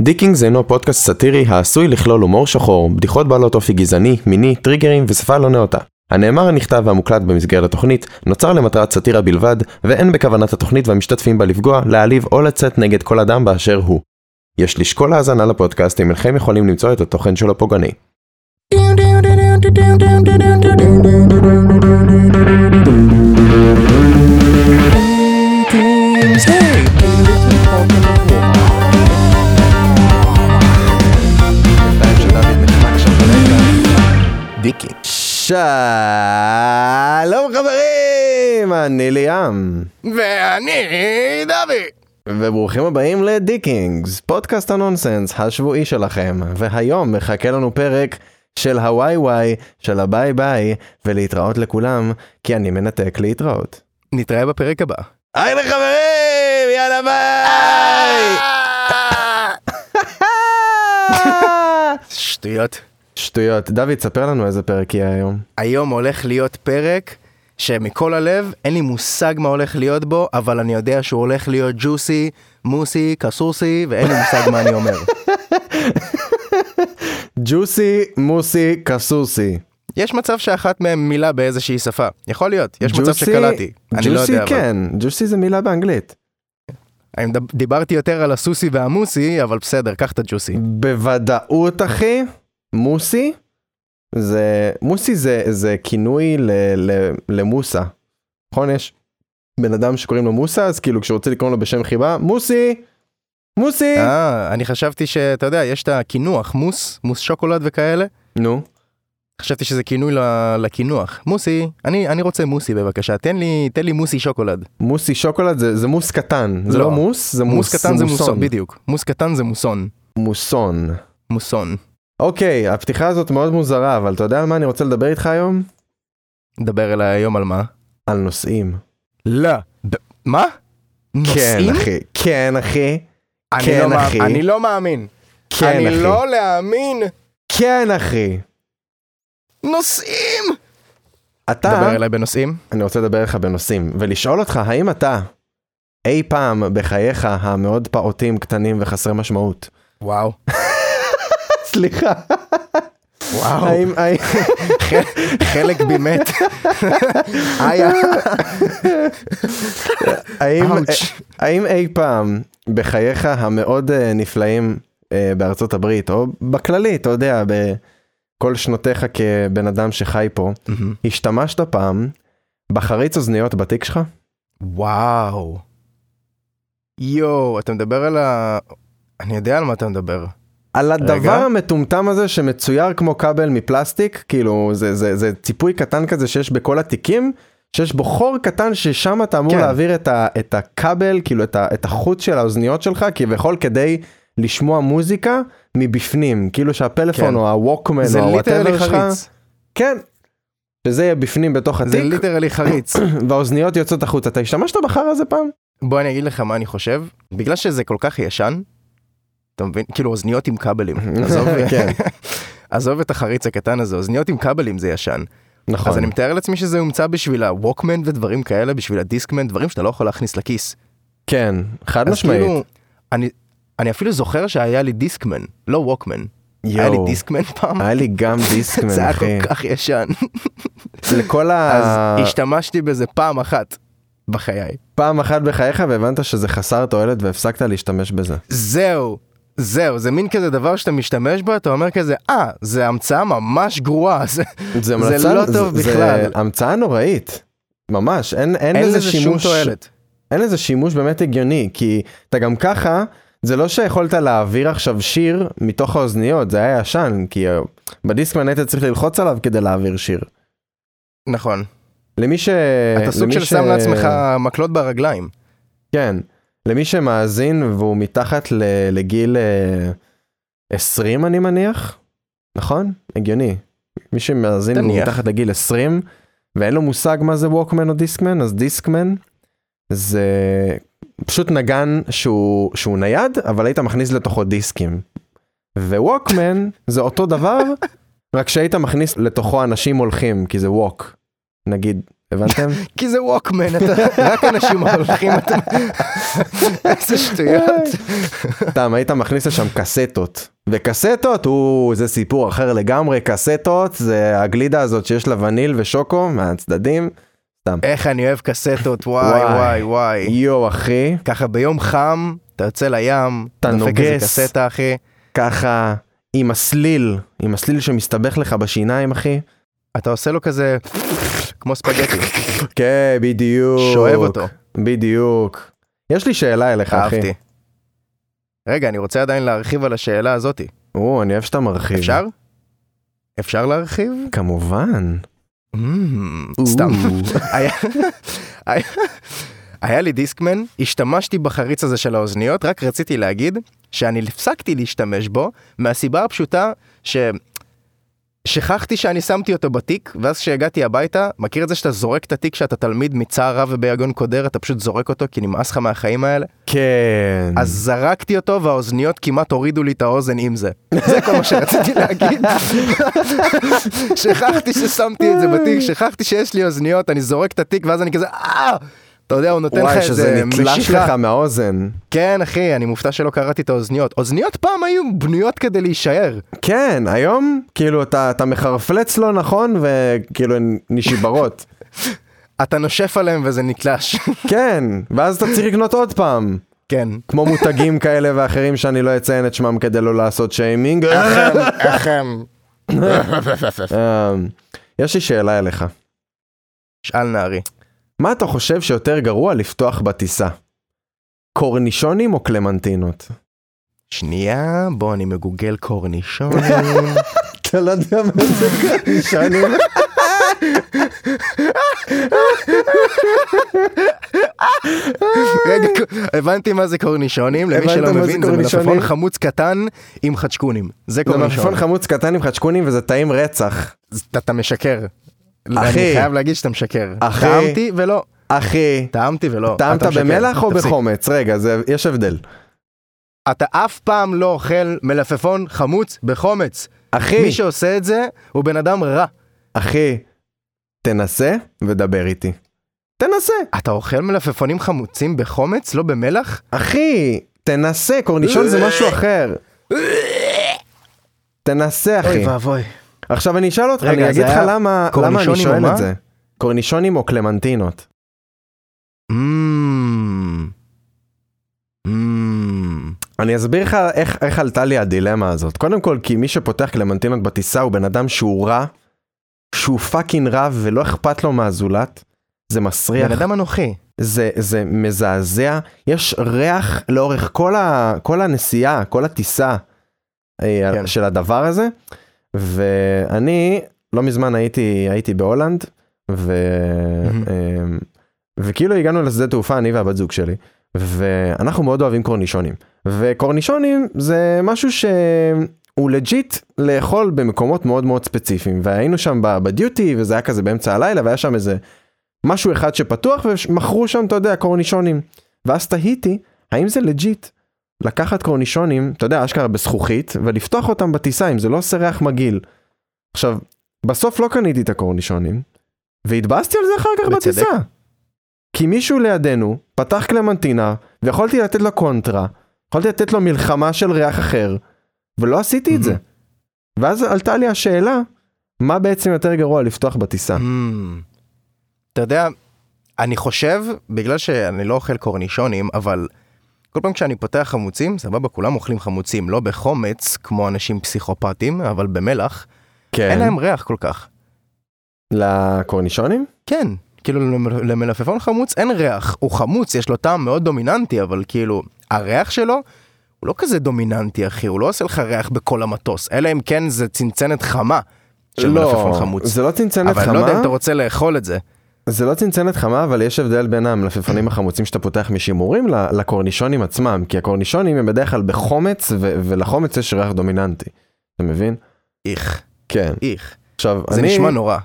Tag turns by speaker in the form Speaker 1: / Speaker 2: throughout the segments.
Speaker 1: דיקינגס אינו פודקאסט סאטירי העשוי לכלול הומור שחור, בדיחות בעלות אופי גזעני, מיני, טריגרים ושפה לא נאותה. הנאמר הנכתב והמוקלט במסגרת התוכנית נוצר למטרת סאטירה בלבד, ואין בכוונת התוכנית והמשתתפים בה לפגוע, להעליב או לצאת נגד כל אדם באשר הוא. יש לשקול האזנה לפודקאסט אם אינכם יכולים למצוא את התוכן שלו פוגעני. שלום חברים, אני ליאם.
Speaker 2: ואני דוד.
Speaker 1: וברוכים הבאים לדיקינגס, פודקאסט הנונסנס השבועי שלכם, והיום מחכה לנו פרק של הוואי וואי, של הביי ביי, ולהתראות לכולם, כי אני מנתק להתראות.
Speaker 2: נתראה בפרק הבא.
Speaker 1: היי לחברים, יאללה ביי! אה!
Speaker 2: שטויות.
Speaker 1: שטויות. דוד, ספר לנו איזה פרק יהיה היום.
Speaker 2: היום הולך להיות פרק שמכל הלב אין לי מושג מה הולך להיות בו, אבל אני יודע שהוא הולך להיות ג'וסי, מוסי, קסוסי, ואין לי מושג מה אני אומר.
Speaker 1: ג'וסי, מוסי, קסוסי.
Speaker 2: יש מצב שאחת מהם מילה באיזושהי שפה. יכול להיות, יש מצב
Speaker 1: ג'וסי-
Speaker 2: שקלעתי. אני לא
Speaker 1: ג'וסי
Speaker 2: יודע, אבל...
Speaker 1: כן, ג'וסי זה מילה באנגלית.
Speaker 2: אני מדב- דיברתי יותר על הסוסי והמוסי, אבל בסדר, קח את הג'וסי.
Speaker 1: בוודאות אחי, מוסי, זה, מוסי זה, זה כינוי ל, ל, למוסה, נכון? יש בן אדם שקוראים לו מוסה, אז כאילו כשרוצה לקרוא לו בשם חיבה, מוסי, מוסי.
Speaker 2: אה, אני חשבתי שאתה יודע, יש את הקינוח, מוס, מוס שוקולד וכאלה.
Speaker 1: נו,
Speaker 2: חשבתי שזה כינוי ל- לקינוח. מוסי, אני, אני רוצה מוסי בבקשה, תן לי, תן לי מוסי שוקולד.
Speaker 1: מוסי שוקולד זה, זה מוס קטן, זה
Speaker 2: לא.
Speaker 1: לא מוס, זה מוס,
Speaker 2: מוס קטן זה מוסון,
Speaker 1: מוסון.
Speaker 2: בדיוק. מוס קטן זה מוסון.
Speaker 1: מוסון.
Speaker 2: מוסון.
Speaker 1: אוקיי, הפתיחה הזאת מאוד מוזרה, אבל אתה יודע על מה אני רוצה לדבר איתך היום?
Speaker 2: נדבר אליי היום על מה?
Speaker 1: על נושאים.
Speaker 2: לא. ב- מה? נוסעים?
Speaker 1: כן, אחי. כן, אחי.
Speaker 2: אני
Speaker 1: כן,
Speaker 2: לא מאמ-
Speaker 1: אחי.
Speaker 2: אני לא מאמין.
Speaker 1: כן, אחי.
Speaker 2: אני לא להאמין.
Speaker 1: כן, אחי.
Speaker 2: נוסעים!
Speaker 1: אתה,
Speaker 2: דבר אליי בנוסעים?
Speaker 1: אני רוצה לדבר איתך בנושאים, ולשאול אותך, האם אתה אי פעם בחייך המאוד פעוטים, קטנים וחסרי משמעות?
Speaker 2: וואו.
Speaker 1: סליחה.
Speaker 2: וואו.
Speaker 1: האם, האם,
Speaker 2: חלק בי מת. איה.
Speaker 1: האם,
Speaker 2: אאוץ'.
Speaker 1: האם אי פעם בחייך המאוד אה, נפלאים אה, בארצות הברית, או בכללי, אתה יודע, בכל שנותיך כבן אדם שחי פה,
Speaker 2: מהמם.
Speaker 1: השתמשת פעם בחריץ אוזניות בתיק שלך?
Speaker 2: וואו. יואו, אתה מדבר על ה... אני יודע על מה אתה מדבר.
Speaker 1: על הדבר
Speaker 2: רגע.
Speaker 1: המטומטם הזה שמצויר כמו כבל מפלסטיק, כאילו זה, זה, זה ציפוי קטן כזה שיש בכל התיקים, שיש בו חור קטן ששם אתה אמור
Speaker 2: כן.
Speaker 1: כן. להעביר את, ה, את הכבל, כאילו את, ה, את החוט של האוזניות שלך, כביכול כדי לשמוע מוזיקה מבפנים, כאילו שהפלאפון
Speaker 2: כן.
Speaker 1: או הווקמן
Speaker 2: זה
Speaker 1: או
Speaker 2: ליטרלי
Speaker 1: הוואטאבר שלך,
Speaker 2: חריץ.
Speaker 1: כן, שזה יהיה בפנים בתוך
Speaker 2: זה
Speaker 1: התיק,
Speaker 2: ליטרלי חריץ.
Speaker 1: והאוזניות יוצאות החוצה. אתה השתמשת בחרא הזה פעם?
Speaker 2: בוא אני אגיד לך מה אני חושב, בגלל שזה כל כך ישן, אתה מבין? כאילו אוזניות עם כבלים. עזוב,
Speaker 1: כן,
Speaker 2: עזוב את החריץ הקטן הזה, אוזניות עם כבלים זה ישן.
Speaker 1: נכון.
Speaker 2: אז אני מתאר לעצמי שזה הומצא בשביל הווקמן ודברים כאלה, בשביל הדיסקמן, דברים שאתה לא יכול להכניס לכיס.
Speaker 1: כן, חד
Speaker 2: אז
Speaker 1: משמעית.
Speaker 2: כאילו, אני, אני אפילו זוכר שהיה לי דיסקמן, לא ווקמן. היה לי
Speaker 1: יואו,
Speaker 2: דיסקמן פעם.
Speaker 1: היה לי גם דיסקמן,
Speaker 2: זה היה
Speaker 1: אחי. אה.
Speaker 2: כל כך ישן.
Speaker 1: לכל
Speaker 2: אז
Speaker 1: ה...
Speaker 2: השתמשתי בזה פעם אחת בחיי.
Speaker 1: פעם אחת בחייך והבנת שזה חסר תועלת והפסקת להשתמש בזה.
Speaker 2: זהו, זהו, זה מין כזה דבר שאתה משתמש בו, אתה אומר כזה, אה, זה המצאה ממש גרועה, זה,
Speaker 1: זה,
Speaker 2: לא טוב
Speaker 1: זה,
Speaker 2: בכלל.
Speaker 1: זה המצאה נוראית. ממש, אין, אין,
Speaker 2: אין
Speaker 1: לזה
Speaker 2: לזה שום
Speaker 1: שימוש,
Speaker 2: תועלת.
Speaker 1: אין לזה שימוש באמת הגיוני, כי אתה גם ככה, זה לא שיכולת להעביר עכשיו שיר מתוך האוזניות, זה היה ישן, כי אה, בדיסקמן היית צריך ללחוץ עליו כדי להעביר שיר.
Speaker 2: נכון.
Speaker 1: למי ש...
Speaker 2: אתה סוג
Speaker 1: אה, למי
Speaker 2: של
Speaker 1: ש-
Speaker 2: שם לעצמך מקלות ברגליים.
Speaker 1: כן. למי שמאזין והוא מתחת ל... לגיל אה, 20 אני מניח, נכון? הגיוני. מי שמאזין והוא
Speaker 2: תניח.
Speaker 1: מתחת לגיל 20 ואין לו מושג מה זה ווקמן או דיסקמן, אז דיסקמן זה פשוט נגן שהוא, שהוא נייד, אבל היית מכניס לתוכו דיסקים. וווקמן זה אותו דבר, רק שהיית מכניס לתוכו אנשים הולכים, כי זה ווק. נגיד הבנתם?
Speaker 2: כי זה ווקמן, אתה- רק אנשים הולכים, אתה- איזה שטויות.
Speaker 1: סתם, היית מכניס לשם קסטות. וקסטות, הוא, זה סיפור אחר לגמרי, קסטות זה הגלידה הזאת שיש לה וניל ושוקו מהצדדים.
Speaker 2: איך אני אוהב קסטות, וואי
Speaker 1: אה. וואי.
Speaker 2: וואי וואי.
Speaker 1: יואו אחי,
Speaker 2: ככה ביום חם, אתה יוצא לים,
Speaker 1: אתה
Speaker 2: דופק איזה
Speaker 1: נוגס.
Speaker 2: קסטה אחי,
Speaker 1: ככה עם הסליל, עם הסליל שמסתבך לך בשיניים אחי.
Speaker 2: אתה עושה לו כזה כמו ספגטי,
Speaker 1: כן, בדיוק.
Speaker 2: שואב אותו,
Speaker 1: בדיוק. יש לי שאלה אליך אחי.
Speaker 2: אהבתי. רגע, אני רוצה עדיין להרחיב על השאלה הזאתי.
Speaker 1: או, אני אוהב שאתה מרחיב.
Speaker 2: אפשר? אפשר להרחיב?
Speaker 1: כמובן.
Speaker 2: Mm, סתם. היה- היה- היה לי דיסקמן, השתמשתי בחריץ הזה של האוזניות, רק רציתי להגיד שאני הפסקתי להשתמש בו מהסיבה הפשוטה ש... שכחתי שאני שמתי אותו בתיק, ואז כשהגעתי הביתה, מכיר את זה שאתה זורק את התיק שאתה תלמיד מצער רב וביגון קודר, אתה פשוט זורק אותו כי נמאס לך מהחיים האלה?
Speaker 1: כן.
Speaker 2: אז זרקתי אותו והאוזניות כמעט הורידו לי את האוזן עם זה. זה כל מה שרציתי להגיד. שכחתי ששמתי את זה בתיק, שכחתי שיש לי אוזניות, אני זורק את התיק ואז אני כזה אה! אתה יודע, הוא נותן לך
Speaker 1: וואי, שזה
Speaker 2: איזה
Speaker 1: נתלש לך
Speaker 2: משיכה.
Speaker 1: מהאוזן.
Speaker 2: כן, אחי, אני מופתע שלא קראתי את האוזניות. אוזניות פעם היו בנויות כדי להישאר.
Speaker 1: כן, היום, כאילו, אתה, אתה מחרפלץ לא נכון, וכאילו, הן נשיברות.
Speaker 2: אתה נושף עליהם וזה נתלש.
Speaker 1: כן, ואז אתה צריך לקנות עוד פעם.
Speaker 2: כן.
Speaker 1: כמו מותגים כאלה ואחרים שאני לא אציין את שמם כדי לא לעשות שיימינג.
Speaker 2: אכם.
Speaker 1: אה, יש לי שאלה אליך.
Speaker 2: שאל נערי.
Speaker 1: מה אתה חושב שיותר גרוע לפתוח בטיסה? קורנישונים או קלמנטינות?
Speaker 2: שנייה, בוא אני מגוגל קורנישון.
Speaker 1: אתה לא יודע מה זה קורנישונים?
Speaker 2: רגע, הבנתי מה זה קורנישונים, למי
Speaker 1: הבנת
Speaker 2: שלא
Speaker 1: מה זה
Speaker 2: מבין זה
Speaker 1: קורנישונים?
Speaker 2: מלפפון חמוץ קטן עם חדשקונים, זה
Speaker 1: זה
Speaker 2: קורנישון,
Speaker 1: מלפפון חמוץ קטן עם חדשקונים וזה טעים רצח.
Speaker 2: אז אתה- אתה משקר,
Speaker 1: אחי.
Speaker 2: אני חייב להגיד שאתה משקר,
Speaker 1: אחי.
Speaker 2: טעמתי ולא,
Speaker 1: אחי,
Speaker 2: טעמתי ולא,
Speaker 1: טעמת
Speaker 2: אתה משקר.
Speaker 1: במלח או
Speaker 2: תפסיק.
Speaker 1: בחומץ? רגע, זה- יש הבדל.
Speaker 2: אתה אף פעם לא אוכל מלפפון חמוץ בחומץ,
Speaker 1: אחי,
Speaker 2: מי שעושה את זה הוא בן אדם רע,
Speaker 1: אחי, תנסה ודבר איתי. תנסה.
Speaker 2: אתה אוכל מלפפונים חמוצים בחומץ, לא במלח?
Speaker 1: אחי, תנסה, קורנישון זה משהו אחר. תנסה, אחי.
Speaker 2: אוי ואבוי,
Speaker 1: עכשיו אני אשאל אותך,
Speaker 2: רגע,
Speaker 1: אני
Speaker 2: זה
Speaker 1: אגיד לך
Speaker 2: היה
Speaker 1: למה למה אני
Speaker 2: קורנישונים או
Speaker 1: שואל
Speaker 2: מה?
Speaker 1: את זה. קורנישונים או קלמנטינות?
Speaker 2: אממ. אממ.
Speaker 1: אני אסביר לך איך, איך עלתה לי הדילמה הזאת. קודם כל, כי מי שפותח קלמנטינות בטיסה הוא בן אדם שהוא רע, שהוא פאקינג רע ולא אכפת לו מהזולת. זה מסריח,
Speaker 2: בן אדם אנוכי,
Speaker 1: זה, זה מזעזע, יש ריח לאורך כל, ה, כל הנסיעה, כל הטיסה אה,
Speaker 2: כן.
Speaker 1: של הדבר הזה. ואני לא מזמן הייתי, הייתי בהולנד, ו,
Speaker 2: מהמם.
Speaker 1: אה, וכאילו הגענו לשדה תעופה, אני והבת זוג שלי, ואנחנו מאוד אוהבים קורנישונים. וקורנישונים זה משהו שהוא לג'יט לאכול במקומות מאוד מאוד ספציפיים. והיינו שם ב- בדיוטי, וזה היה כזה באמצע הלילה, והיה שם איזה משהו אחד שפתוח, ומכרו שם, אתה יודע, קורנישונים. ואז תהיתי, האם זה לג'יט לקחת קורנישונים, אתה יודע, אשכרה בזכוכית, ולפתוח אותם בטיסה, אם זה לא עושה ריח מגעיל. עכשיו, בסוף לא קניתי את הקורנישונים, והתבאסתי על זה אחר כך
Speaker 2: בצדק.
Speaker 1: בטיסה. כי מישהו לידינו פתח קלמנטינה, ויכולתי לתת לו קונטרה, יכולתי לתת לו מלחמה של ריח אחר, ולא עשיתי את זה.
Speaker 2: Mhm.
Speaker 1: ואז עלתה לי השאלה, מה בעצם יותר גרוע לפתוח בטיסה?
Speaker 2: Mm. אתה יודע, אני חושב, בגלל שאני לא אוכל קורנישונים, אבל כל פעם כשאני פותח חמוצים, סבבה, כולם אוכלים חמוצים, לא בחומץ, כמו אנשים פסיכופטים, אבל במלח, אין
Speaker 1: כן.
Speaker 2: להם ריח כל כך.
Speaker 1: לקורנישונים?
Speaker 2: כן, כאילו למל- למלפפון חמוץ אין ריח, הוא חמוץ, יש לו טעם מאוד דומיננטי, אבל כאילו, הריח שלו... הוא לא כזה דומיננטי אחי, הוא לא עושה לך ריח בכל המטוס, אלא אם כן זה צנצנת חמה של מלפפון חמוץ.
Speaker 1: לא, זה לא צנצנת
Speaker 2: אבל אני לא יודע אם
Speaker 1: חמה,
Speaker 2: אתה רוצה לאכול את זה.
Speaker 1: זה לא צנצנת חמה, אבל יש הבדל בין המלפפונים החמוצים שאתה פותח משימורים ל- לקורנישונים עצמם, כי הקורנישונים הם בדרך כלל בחומץ, ו- ולחומץ יש ריח דומיננטי. אתה מבין?
Speaker 2: איך,
Speaker 1: כן.
Speaker 2: איך.
Speaker 1: עכשיו,
Speaker 2: זה
Speaker 1: אני,
Speaker 2: נשמע לא- נורא.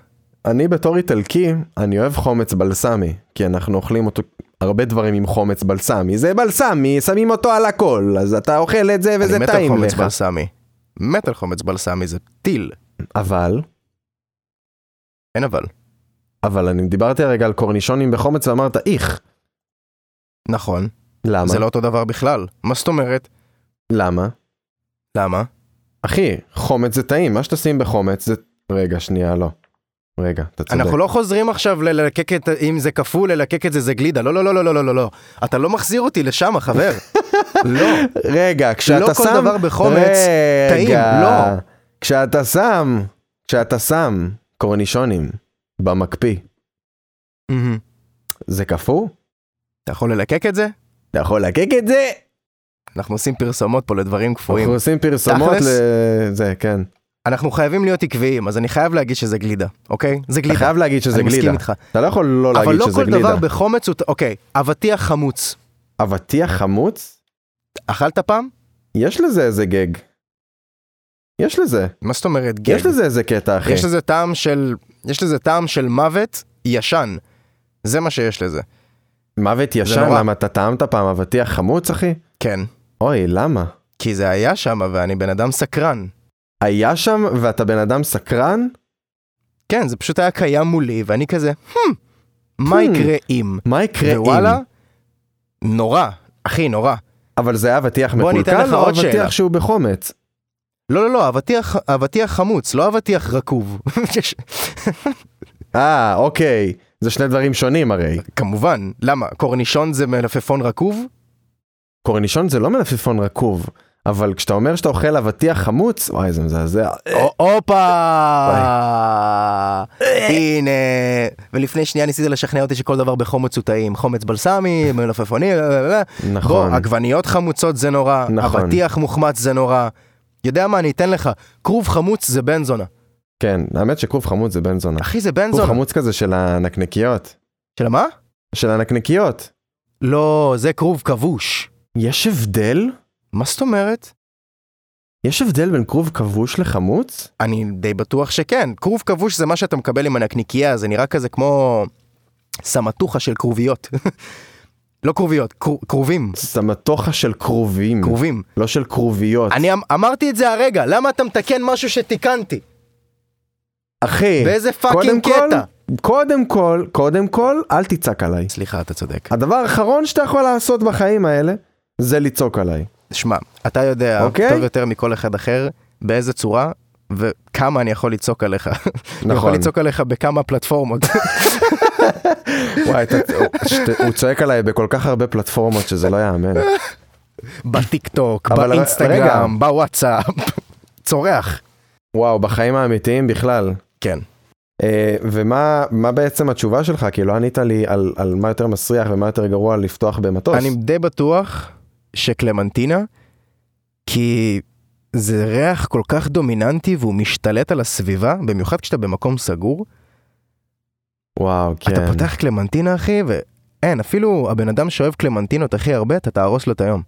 Speaker 1: אני בתור איטלקי, אני אוהב חומץ בלסמי, כי אנחנו אוכלים אותו, הרבה דברים עם חומץ בלסמי. זה בלסמי, שמים אותו על הכל, אז אתה אוכל את זה וזה
Speaker 2: אני מת על
Speaker 1: טעים
Speaker 2: חומץ
Speaker 1: לך.
Speaker 2: בלסמי. מת על חומץ בלסמי זה טיל.
Speaker 1: אבל,
Speaker 2: אין אבל.
Speaker 1: אבל אני דיברתי הרגע על קורנישונים בחומץ ואמרת איך.
Speaker 2: נכון.
Speaker 1: למה?
Speaker 2: זה לא אותו דבר בכלל. מה זאת אומרת?
Speaker 1: למה?
Speaker 2: למה?
Speaker 1: אחי, חומץ זה טעים, מה שתשים בחומץ זה... רגע, שנייה, לא. רגע, אתה צודק.
Speaker 2: אנחנו לא חוזרים עכשיו ללקק את, אם זה קפוא, ללקק את זה, זה גלידה. לא, לא, לא, לא, לא, לא, לא, לא. אתה לא מחזיר אותי לשם, חבר. לא.
Speaker 1: רגע, כשאתה שם... אה.
Speaker 2: לא כל דבר בחומץ
Speaker 1: רגע.
Speaker 2: טעים, לא.
Speaker 1: כשאתה שם, כשאתה שם קורנישונים במקפיא,
Speaker 2: מהמם.
Speaker 1: זה קפוא?
Speaker 2: אתה יכול ללקק את זה?
Speaker 1: אתה יכול להקק את זה?
Speaker 2: אנחנו עושים פרסומות פה לדברים קפואים.
Speaker 1: אנחנו עושים פרסומות
Speaker 2: תכלס?
Speaker 1: לזה, כן.
Speaker 2: אנחנו חייבים להיות עקביים, אז אני חייב להגיד שזה גלידה, אוקיי? זה
Speaker 1: אתה
Speaker 2: גלידה.
Speaker 1: חייב להגיד שזה
Speaker 2: אני
Speaker 1: גלידה.
Speaker 2: מסכים איתך.
Speaker 1: אתה לא יכול לא
Speaker 2: אבל
Speaker 1: להגיד
Speaker 2: לא
Speaker 1: שזה
Speaker 2: כל
Speaker 1: גלידה.
Speaker 2: דבר בחומץ הוא... אוקיי, אבטיח חמוץ.
Speaker 1: אבטיח חמוץ?
Speaker 2: אכלת פעם?
Speaker 1: יש לזה איזה גג. יש לזה.
Speaker 2: מה זאת אומרת גג?
Speaker 1: יש לזה איזה קטע, אחי.
Speaker 2: יש לזה טעם של... יש לזה טעם של מוות ישן. זה מה שיש לזה.
Speaker 1: מוות ישן,
Speaker 2: נורא.
Speaker 1: למה אתה טעמת פעם אבטיח חמוץ, אחי?
Speaker 2: כן.
Speaker 1: אוי, למה?
Speaker 2: כי זה היה שם, ואני בן אדם סקרן.
Speaker 1: היה שם ואתה בן אדם סקרן?
Speaker 2: כן, זה פשוט היה קיים מולי, ואני כזה, "הם, מה
Speaker 1: Hmm.
Speaker 2: יקרה אם?
Speaker 1: מה יקרה אם?
Speaker 2: ווואלה, נורא, אחי, נורא.
Speaker 1: אבל זה היה אבטיח
Speaker 2: בוא, אני אתן
Speaker 1: מקולקל
Speaker 2: לך
Speaker 1: או
Speaker 2: עוד
Speaker 1: אבטיח
Speaker 2: שאלה.
Speaker 1: שהוא בחומץ?
Speaker 2: לא, לא, לא, אבטיח, אבטיח חמוץ, לא אבטיח רקוב. יש-
Speaker 1: אה, אוקיי. זה שני דברים שונים הרי.
Speaker 2: כמובן, למה? קורנישון זה מלפפון רקוב?
Speaker 1: קורנישון זה לא מלפפון רקוב, אבל כשאתה אומר שאתה אוכל אבטיח חמוץ, וואי, זה מזעזע.
Speaker 2: הו- הופה! הנה. ולפני שנייה ניסית לשכנע אותי שכל דבר בחומץ הוא טעים. חומץ בלסמי, מלפפונים, לא, לא, לא, לא.
Speaker 1: נכון.
Speaker 2: בוא, עגבניות חמוצות זה נורא,
Speaker 1: נכון.
Speaker 2: אבטיח מוחמץ זה נורא. יודע מה, אני אתן לך, כרוב חמוץ זה בן זונה.
Speaker 1: כן, האמת שכרוב חמוץ זה בן זונה.
Speaker 2: אחי, זה בן
Speaker 1: כרוב
Speaker 2: זונה.
Speaker 1: חמוץ כזה של הנקניקיות.
Speaker 2: של מה?
Speaker 1: של הנקניקיות.
Speaker 2: לא, זה כרוב כבוש.
Speaker 1: יש הבדל?
Speaker 2: מה זאת אומרת?
Speaker 1: יש הבדל בין כרוב כבוש לחמוץ?
Speaker 2: אני די בטוח שכן. כרוב כבוש זה מה שאתה מקבל עם הנקניקייה, זה נראה כזה כמו סמטוחה של כרוביות. לא כרוביות, כר- כרובים.
Speaker 1: סמטוחה של כרובים,
Speaker 2: כרובים.
Speaker 1: לא של כרוביות.
Speaker 2: אני אמ- אמרתי את זה הרגע, למה אתה מתקן משהו שתיקנתי?
Speaker 1: אחי,
Speaker 2: באיזה
Speaker 1: אה, קודם
Speaker 2: פאקינג
Speaker 1: כל,
Speaker 2: קטע?
Speaker 1: קודם כל, קודם כל, אל תצעק עליי.
Speaker 2: סליחה, אתה צודק.
Speaker 1: הדבר האחרון שאתה יכול לעשות בחיים האלה, זה לצעוק עליי.
Speaker 2: שמע, אתה יודע
Speaker 1: אוקיי.
Speaker 2: טוב יותר מכל אחד אחר באיזה צורה וכמה אני יכול לצעוק עליך. אני יכול
Speaker 1: נכון.
Speaker 2: לצעוק עליך בכמה פלטפורמות.
Speaker 1: וואי, אתה, שת, הוא צועק עליי בכל כך הרבה פלטפורמות שזה לא יאמן.
Speaker 2: בטיקטוק,
Speaker 1: אבל- רגע.
Speaker 2: באינסטגרם, בוואטסאפ. צורח.
Speaker 1: וואו, בחיים האמיתיים בכלל.
Speaker 2: כן.
Speaker 1: אה, ומה מה בעצם התשובה שלך? כי לא ענית לי על, על מה יותר מסריח ומה יותר גרוע לפתוח במטוס.
Speaker 2: אני די בטוח שקלמנטינה, כי זה ריח כל כך דומיננטי והוא משתלט על הסביבה, במיוחד כשאתה במקום סגור.
Speaker 1: וואו, כן.
Speaker 2: אתה פותח קלמנטינה אחי ואין אפילו הבן אדם שאוהב קלמנטינות הכי הרבה אתה תהרוס לו את היום.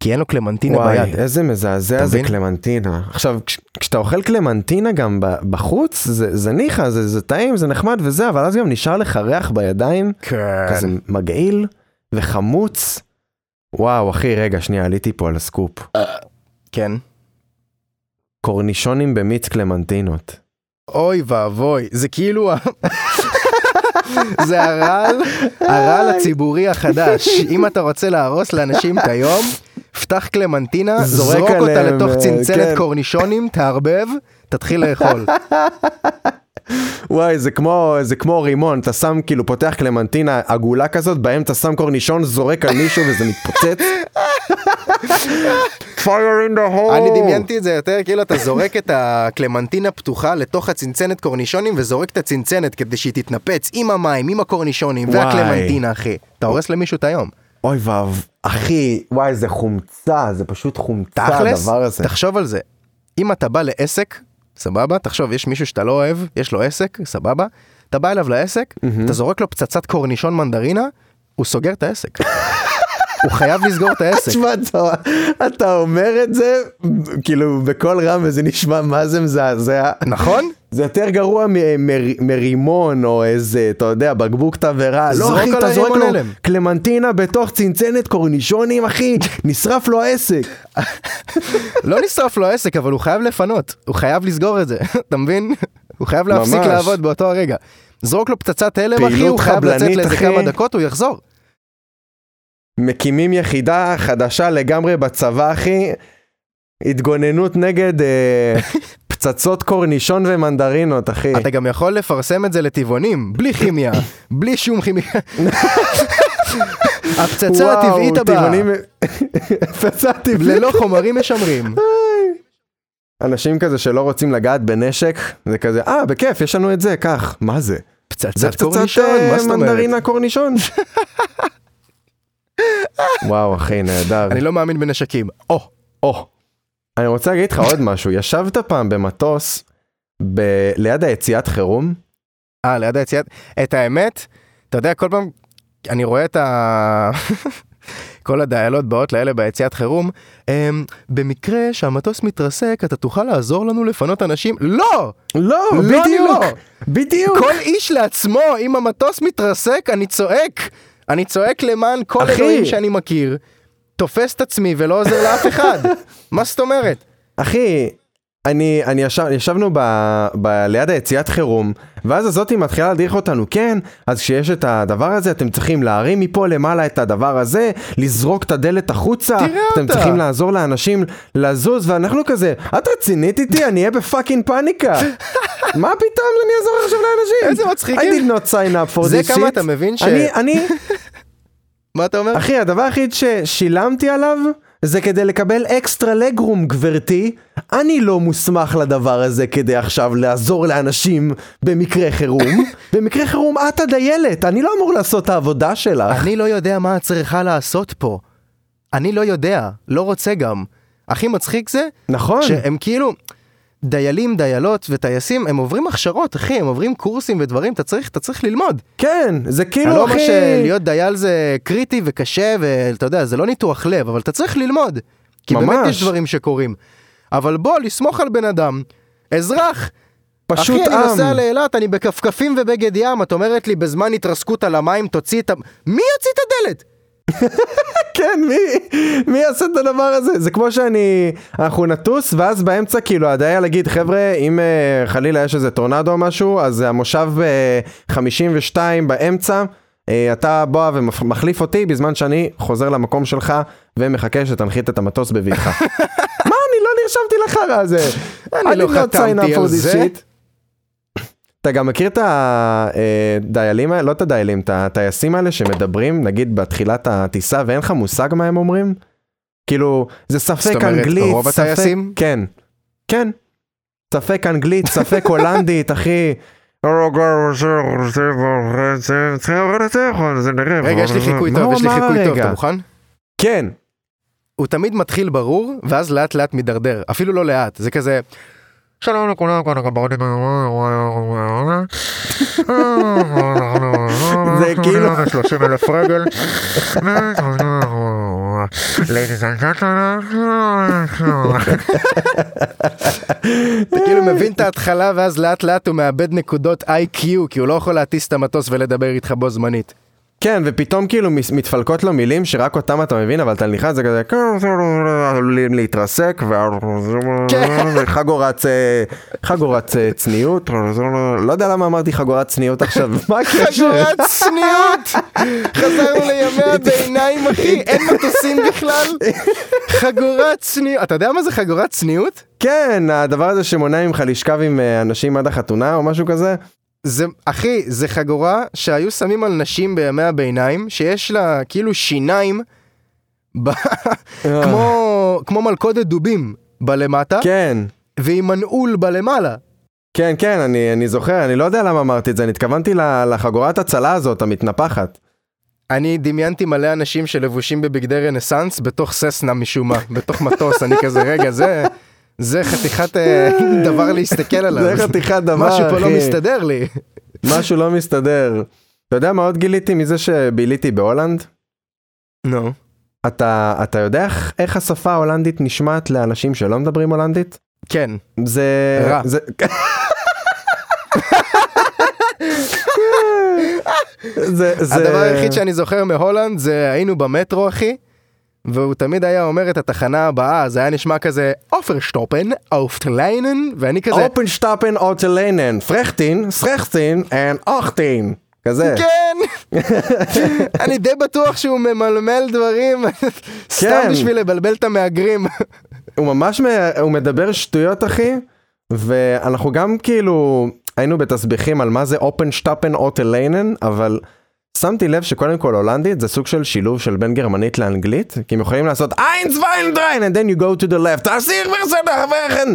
Speaker 2: כי אין לו קלמנטינה
Speaker 1: וואי,
Speaker 2: ביד.
Speaker 1: איזה מזעזע
Speaker 2: אתה
Speaker 1: זה
Speaker 2: מבין?
Speaker 1: קלמנטינה. עכשיו, כש, כשאתה אוכל קלמנטינה גם ב- בחוץ, זה, זה ניחא, זה, זה טעים, זה נחמד וזה, אבל אז גם נשאר לך ריח בידיים,
Speaker 2: כן.
Speaker 1: כזה מגעיל וחמוץ. וואו, אחי, רגע, שנייה, עליתי פה על הסקופ.
Speaker 2: כן.
Speaker 1: קורנישונים במיץ קלמנטינות.
Speaker 2: אוי ואבוי זה כאילו ה- זה הרעל הרעל הציבורי החדש אם אתה רוצה להרוס לאנשים את היום. פתח קלמנטינה,
Speaker 1: זורק
Speaker 2: זרוק אותה
Speaker 1: עליהם,
Speaker 2: לתוך
Speaker 1: אה, כן.
Speaker 2: צנצנת קורנישונים, תערבב, תתחיל לאכול.
Speaker 1: וואי, זה כמו, זה כמו רימון, אתה שם כאילו, פותח קלמנטינה עגולה כזאת, בהם אתה שם קורנישון, זורק על מישהו וזה מתפוצץ. Fire in the hole.
Speaker 2: אני דמיינתי את זה יותר כאילו אתה זורק את הקלמנטינה פתוחה לתוך הצנצנת קורנישונים וזורק את הצנצנת כדי שהיא תתנפץ עם המים עם הקורנישונים
Speaker 1: וואי.
Speaker 2: והקלמנטינה אחי אתה הורס למישהו את היום.
Speaker 1: אוי ואב, אחי, וואי, זה חומצה, זה פשוט חומצה
Speaker 2: תכלס
Speaker 1: אה, הדבר הזה.
Speaker 2: תחשוב על זה אם אתה בא לעסק סבבה תחשוב יש מישהו שאתה לא אוהב יש לו עסק סבבה אתה בא אליו לעסק אתה זורק לו פצצת קורנישון מנדרינה הוא סוגר את העסק. הוא חייב לסגור את העסק.
Speaker 1: תשמע, אתה- אתה אומר את זה, כאילו, בקול רם, וזה נשמע מה זה מזעזע.
Speaker 2: נכון?
Speaker 1: זה יותר גרוע מ- מ- מרימון או איזה, אתה יודע, בקבוק תבערה.
Speaker 2: זרוק
Speaker 1: לא, אחי,
Speaker 2: על
Speaker 1: אתה זורק
Speaker 2: הרימון
Speaker 1: לו
Speaker 2: הלם.
Speaker 1: קלמנטינה בתוך צנצנת קורנישונים, אחי, נשרף לו העסק.
Speaker 2: לא נשרף לו העסק אבל הוא חייב לפנות הוא חייב לסגור את זה אתה מבין? הוא חייב להפסיק
Speaker 1: ממש.
Speaker 2: לעבוד באותו הרגע. זרוק לו פצצת הלם, אחי,
Speaker 1: פעילות
Speaker 2: הוא חייב לצאת
Speaker 1: חבלנית,
Speaker 2: לאיזה
Speaker 1: אחי.
Speaker 2: כמה דקות, הוא יחזור.
Speaker 1: מקימים יחידה חדשה לגמרי בצבא, אחי. התגוננות נגד אה, פצצות קורנישון ומנדרינות, אחי.
Speaker 2: אתה גם יכול לפרסם את זה לטבעונים, בלי כימיה, בלי שום כימיה. הפצצה
Speaker 1: וואו,
Speaker 2: הטבעית הבאה,
Speaker 1: טבעונים- פצצה טבעית.
Speaker 2: ללא חומרים משמרים.
Speaker 1: אנשים כזה שלא רוצים לגעת בנשק, זה כזה, אה, בכיף, יש לנו את זה, קח. מה זה? זה
Speaker 2: פצצת
Speaker 1: פצצת
Speaker 2: קורנישון,
Speaker 1: אה,
Speaker 2: מה זאת אומרת?
Speaker 1: מנדרינה קורנישון. וואו, אחי, נהדר.
Speaker 2: אני לא מאמין בנשקים. או,
Speaker 1: או, אני רוצה להגיד לך עוד משהו, ישבת פעם במטוס ב... ליד היציאת חירום?
Speaker 2: אה, ליד היציאת... את האמת, אתה יודע, כל פעם אני רואה את ה... כל הדיילות באות לאלה ביציאת חירום, אמ, במקרה שהמטוס מתרסק, אתה תוכל לעזור לנו לפנות אנשים? לא!
Speaker 1: לא,
Speaker 2: בדיוק.
Speaker 1: בדיוק.
Speaker 2: כל איש לעצמו, אם המטוס מתרסק, אני צועק. אני צועק למען כל
Speaker 1: אחי.
Speaker 2: אלוהים שאני מכיר, תופס את עצמי ולא עוזר לאף אחד. מה זאת אומרת?
Speaker 1: אחי, אני, אני ישב, ישבנו ב, ב, ליד היציאת חירום, ואז הזאתי מתחילה להדריך אותנו, כן, אז כשיש את הדבר הזה, אתם צריכים להרים מפה למעלה את הדבר הזה, לזרוק את הדלת החוצה,
Speaker 2: תראה
Speaker 1: אתם
Speaker 2: אותה.
Speaker 1: צריכים לעזור לאנשים לזוז, ואנחנו כזה, את רצינית איתי? אני אהיה בפאקינג פאניקה. מה פתאום אני אעזור עכשיו לאנשים?
Speaker 2: איזה מצחיקים.
Speaker 1: I did not sign up for
Speaker 2: זה
Speaker 1: this shit.
Speaker 2: כמה אתה מבין ש-
Speaker 1: אני, אני,
Speaker 2: מה אתה אומר?
Speaker 1: אחי, הדבר היחיד ששילמתי עליו זה כדי לקבל אקסטרה לגרום, גברתי. אני לא מוסמך לדבר הזה כדי עכשיו לעזור לאנשים במקרה חירום. במקרה חירום את הדיילת, אני לא אמור לעשות את העבודה שלך.
Speaker 2: אני לא יודע מה את צריכה לעשות פה. אני לא יודע, לא רוצה גם. הכי מצחיק זה
Speaker 1: נכון.
Speaker 2: שהם כאילו, דיילים, דיילות וטייסים, הם עוברים הכשרות, אחי, הם עוברים קורסים ודברים, אתה צריך, אתה צריך ללמוד.
Speaker 1: כן, זה
Speaker 2: אני לא
Speaker 1: כאילו,
Speaker 2: אומר
Speaker 1: אחי...
Speaker 2: שלהיות דייל זה קריטי וקשה, ואתה יודע, זה לא ניתוח לב, אבל אתה צריך ללמוד. כי באמת
Speaker 1: ממש.
Speaker 2: יש דברים שקורים. אבל בוא, לסמוך על בן אדם, אזרח.
Speaker 1: פשוט
Speaker 2: אחי, אני
Speaker 1: עם.
Speaker 2: נוסע לאילת, אני בכפכפים ובגד ים, את אומרת לי, בזמן התרסקות על המים, תוציא את ה... מי יוציא את הדלת?
Speaker 1: כן, מי, מי יעשה את הדבר הזה? זה כמו שאני, אנחנו נטוס, ואז באמצע כאילו הדייל להגיד, חבר'ה, אם uh, חלילה יש איזה טורנדו או משהו, אז המושב uh, 52 באמצע, uh, אתה בא ומחליף אותי בזמן שאני חוזר למקום שלך ומחכה שתנחית את המטוס בביתך. מה, אני לא נרשמתי לחרא הזה.
Speaker 2: אני לא
Speaker 1: did not sign
Speaker 2: חתמתי
Speaker 1: up for
Speaker 2: על
Speaker 1: this
Speaker 2: זה.
Speaker 1: shit. אתה גם מכיר את הדיילים האלה, לא את הדיילים, את הטייסים האלה שמדברים, נגיד בתחילת הטיסה, ואין לך מושג מה הם אומרים? כאילו, זה ספק
Speaker 2: אומרת,
Speaker 1: אנגלית,
Speaker 2: רוב
Speaker 1: ספק...
Speaker 2: הטייסים?
Speaker 1: כן. כן. ספק אנגלית, ספק הולנדית, אחי.
Speaker 2: רגע, יש לי חיקוי
Speaker 1: מה
Speaker 2: טוב,
Speaker 1: הוא
Speaker 2: יש לי
Speaker 1: אמר
Speaker 2: חיקוי טוב,
Speaker 1: הרגע?
Speaker 2: אתה מוכן?
Speaker 1: כן.
Speaker 2: הוא תמיד מתחיל ברור, ואז לאט לאט מידרדר, אפילו לא לאט, זה כזה...
Speaker 3: שלום לכולם, כאן הקברניט.
Speaker 1: זה כאילו-
Speaker 3: 30 אלף רגל. Ladies and gentlemen.
Speaker 2: אתה כאילו מבין את ההתחלה ואז לאט לאט הוא מאבד נקודות IQ כי הוא לא יכול להטיס את המטוס ולדבר איתך בו זמנית.
Speaker 1: כן, ופתאום כאילו מס- מתפלקות לו מילים שרק אותם אתה מבין, אבל אתה נלחץ, זה כזה, עלולים להתרסק,
Speaker 2: כן.
Speaker 1: ו- וחגורת, אה, חגורת אה, צניעות, לא יודע למה אמרתי חגורת צניעות עכשיו, מה הקשר?
Speaker 2: חגורת צניעות! חזרנו לימי הביניים אחי, אין מטוסים בכלל. חגורת צניעות, אתה יודע מה זה חגורת צניעות?
Speaker 1: כן, הדבר הזה שמונע ממך לשכב עם אה, אנשים עד החתונה או משהו כזה,
Speaker 2: אה? זה, אחי, זה חגורה שהיו שמים על נשים בימי הביניים, שיש לה כאילו שיניים, ב- כמו, כמו מלכודת דובים בלמטה,
Speaker 1: כן.
Speaker 2: והיא מנעול בלמעלה.
Speaker 1: כן, כן, אני, אני זוכר, אני לא יודע למה אמרתי את זה, אני התכוונתי ל- לחגורת הצלה הזאת, המתנפחת.
Speaker 2: אני דמיינתי מלא אנשים שלבושים בבגדי רנסאנס בתוך ססנה משום מה, בתוך מטוס, אני כזה, רגע, זה, זה חתיכת אה, דבר להסתכל עליו.
Speaker 1: זה חתיכת דבר,
Speaker 2: לא, משהו פה לא
Speaker 1: אחי.
Speaker 2: מסתדר לי.
Speaker 1: משהו לא מסתדר. אתה יודע מה עוד גיליתי מזה שביליתי בהולנד?
Speaker 2: נו.
Speaker 1: אתה, אתה יודע איך, איך השפה ההולנדית נשמעת לאנשים שלא מדברים הולנדית?
Speaker 2: כן.
Speaker 1: זה...
Speaker 2: רע.
Speaker 1: זה... זה, זה...
Speaker 2: הדבר היחיד שאני זוכר מהולנד זה היינו במטרו, אחי, והוא תמיד היה אומר את התחנה הבאה, זה היה נשמע כזה אופרשטופן, אופטליינן, ואני כזה,
Speaker 1: אופנשטאפן אוטלנן, פרחטין, סרחטין, אנד אוכטין. כזה.
Speaker 2: כן, אני די בטוח שהוא ממלמל דברים, סתם
Speaker 1: כן.
Speaker 2: בשביל לבלבל את המהגרים.
Speaker 1: הוא ממש, מ- הוא מדבר שטויות אחי, ואנחנו גם כאילו היינו בתסביכים על מה זה אופנשטאפן אוטליינן, אבל שמתי לב שקודם כל הולנדית זה סוג של שילוב של בין גרמנית לאנגלית, כי הם יכולים לעשות איינס ויילדריין, and then you go to the left, "Ah, תעשיר וסדר וכן.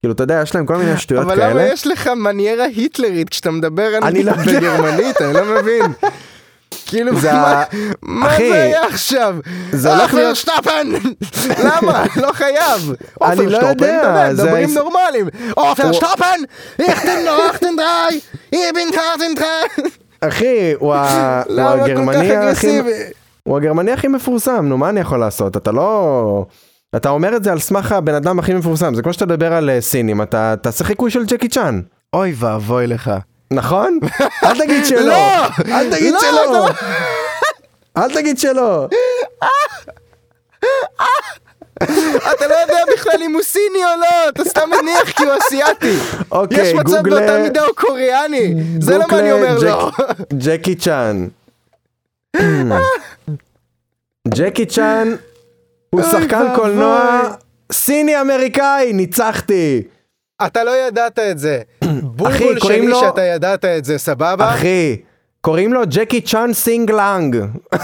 Speaker 1: כאילו אתה יודע, יש להם כל מיני שטויות
Speaker 2: אבל למה
Speaker 1: כאלה.
Speaker 2: יש לך מניירה היטלרית כשאתה מדבר
Speaker 1: אני לא יודע.
Speaker 2: בגרמנית? אני לא מבין. כאילו,
Speaker 1: זה
Speaker 2: מה-
Speaker 1: ה-
Speaker 2: מה
Speaker 1: אחי,
Speaker 2: זה היה עכשיו?
Speaker 1: זה הולך להיות-
Speaker 2: אופרשטפן! למה? לא חייב.
Speaker 1: אני לא
Speaker 2: אופרשטופן,
Speaker 1: יודע,
Speaker 2: אתה יודע,
Speaker 1: זה
Speaker 2: מדברים
Speaker 1: היס-
Speaker 2: נורמלים. אופרשטופן! איך אתם נורחתם די! לא איבן קרטן די!
Speaker 1: אחי, הוא ה- הוא
Speaker 2: למה כל כך
Speaker 1: הגרמני הכי...
Speaker 2: אגרסיבי?
Speaker 1: הוא הגרמני הכי מפורסם, נו מה אני יכול לעשות? אתה לא... אתה אומר את זה על סמך הבן אדם הכי מפורסם, זה כמו שאתה מדבר על אה, סינים, אתה תעשה חיקוי של ג'קי צ'אן,
Speaker 2: אוי ואבוי לך.
Speaker 1: נכון? אל תגיד שלא!
Speaker 2: לא!
Speaker 1: אל תגיד
Speaker 2: לא,
Speaker 1: שלא! אל תגיד שלא!
Speaker 2: אתה לא יודע בכלל אם הוא סיני או לא, אתה סתם מניח כי הוא אסיאתי.
Speaker 1: אוקיי,
Speaker 2: יש מצב
Speaker 1: גוגלה-
Speaker 2: באותה מידה הוא קוריאני. זה למה אני
Speaker 1: גוגלה
Speaker 2: אומר לא.
Speaker 1: ג'ק- ג'קי צ'אן. ג'קי צ'אן הוא שחקן
Speaker 2: ואבוי.
Speaker 1: קולנוע סיני-אמריקאי, ניצחתי!
Speaker 2: אתה לא ידעת את זה. בולבול
Speaker 1: אחי, קוראים
Speaker 2: שלי
Speaker 1: לו-
Speaker 2: שאתה ידעת את זה, סבבה?
Speaker 1: אחי, קוראים לו ג'קי צ'אן סינג לנג.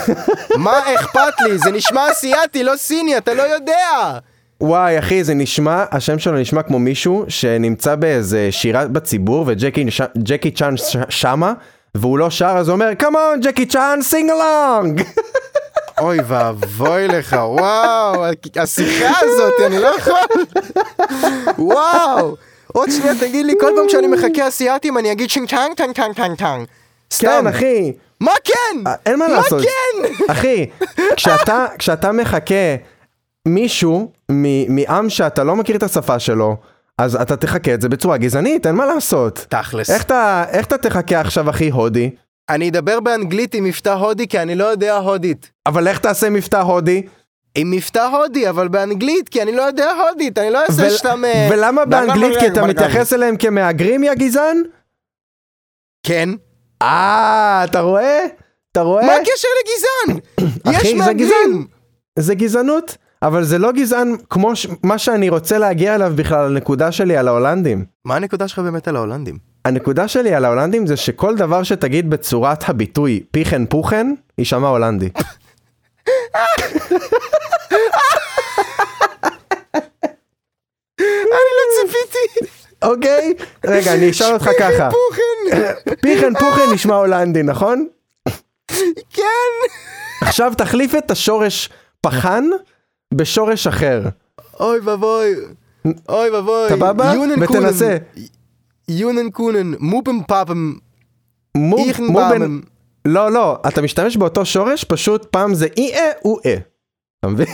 Speaker 2: מה אכפת לי? זה נשמע אסיאתי, לא סיני, אתה לא יודע.
Speaker 1: וואי אחי זה נשמע, השם שלו נשמע כמו מישהו שנמצא באיזה שירה בציבור וג'קי ש- ג'קי צ'אן ש- שמה והוא לא שר אז הוא אומר כמון ג'קי צ'אן סינג לונג.
Speaker 2: אוי ואבוי לך, וואו, השיחה הזאת, אני לא יכול. וואו, עוד שנייה תגיד לי, כל פעם שאני מחכה אסיאתים אני אגיד שינג טאנג טאנג טאנג טאנג טאנג. סתם.
Speaker 1: כן אחי, אה,
Speaker 2: מה כן?
Speaker 1: אין מה לעשות.
Speaker 2: מה כן?
Speaker 1: אחי, כשאתה, כשאתה מחכה מישהו מ- מעם שאתה לא מכיר את השפה שלו אז אתה תחכה את זה בצורה גזענית אין מה לעשות.
Speaker 2: תכלס.
Speaker 1: איך אתה, איך אתה תחכה עכשיו אחי הודי?
Speaker 2: אני אדבר באנגלית עם מבטא הודי כי אני לא יודע הודית.
Speaker 1: אבל איך תעשה מבטא הודי?
Speaker 2: עם מבטא הודי, אבל באנגלית, כי אני לא יודע הודית, אני לא אעשה
Speaker 1: ול-
Speaker 2: סתם... אה,
Speaker 1: ולמה באנגלית? כי אתה מתייחס אליהם כמהגרים, יא גזען?
Speaker 2: כן.
Speaker 1: אה, אתה רואה? אתה רואה?
Speaker 2: מה הקשר לגזען?
Speaker 1: אה? אחי,
Speaker 2: יש
Speaker 1: זה גזען.
Speaker 2: מהגרים.
Speaker 1: זה גזענות, אבל זה לא גזען כמו ש- מה שאני רוצה להגיע אליו בכלל, הנקודה שלי על ההולנדים.
Speaker 2: מה הנקודה שלך באמת על ההולנדים?
Speaker 1: הנקודה שלי על ההולנדים זה שכל דבר שתגיד בצורת הביטוי פיכן פוכן, יישמע הולנדי.
Speaker 2: אני לא ציפיתי.
Speaker 1: אוקיי? רגע, אני אשאל אותך ככה.
Speaker 2: פוכן.
Speaker 1: פיכן פוכן נשמע הולנדי, נכון?
Speaker 2: כן.
Speaker 1: עכשיו תחליף את השורש פחן בשורש אחר.
Speaker 2: אוי ואבוי. אוי ואבוי.
Speaker 1: סבבה?
Speaker 2: יונן קונן.
Speaker 1: ותנסה.
Speaker 2: יונן קונן. מופם פאפם.
Speaker 1: מו-
Speaker 2: איכן
Speaker 1: מו בן-
Speaker 2: באמם.
Speaker 1: לא, לא, אתה משתמש באותו שורש, פשוט פעם זה אי-אה הוא-אה. אה. אתה מבין?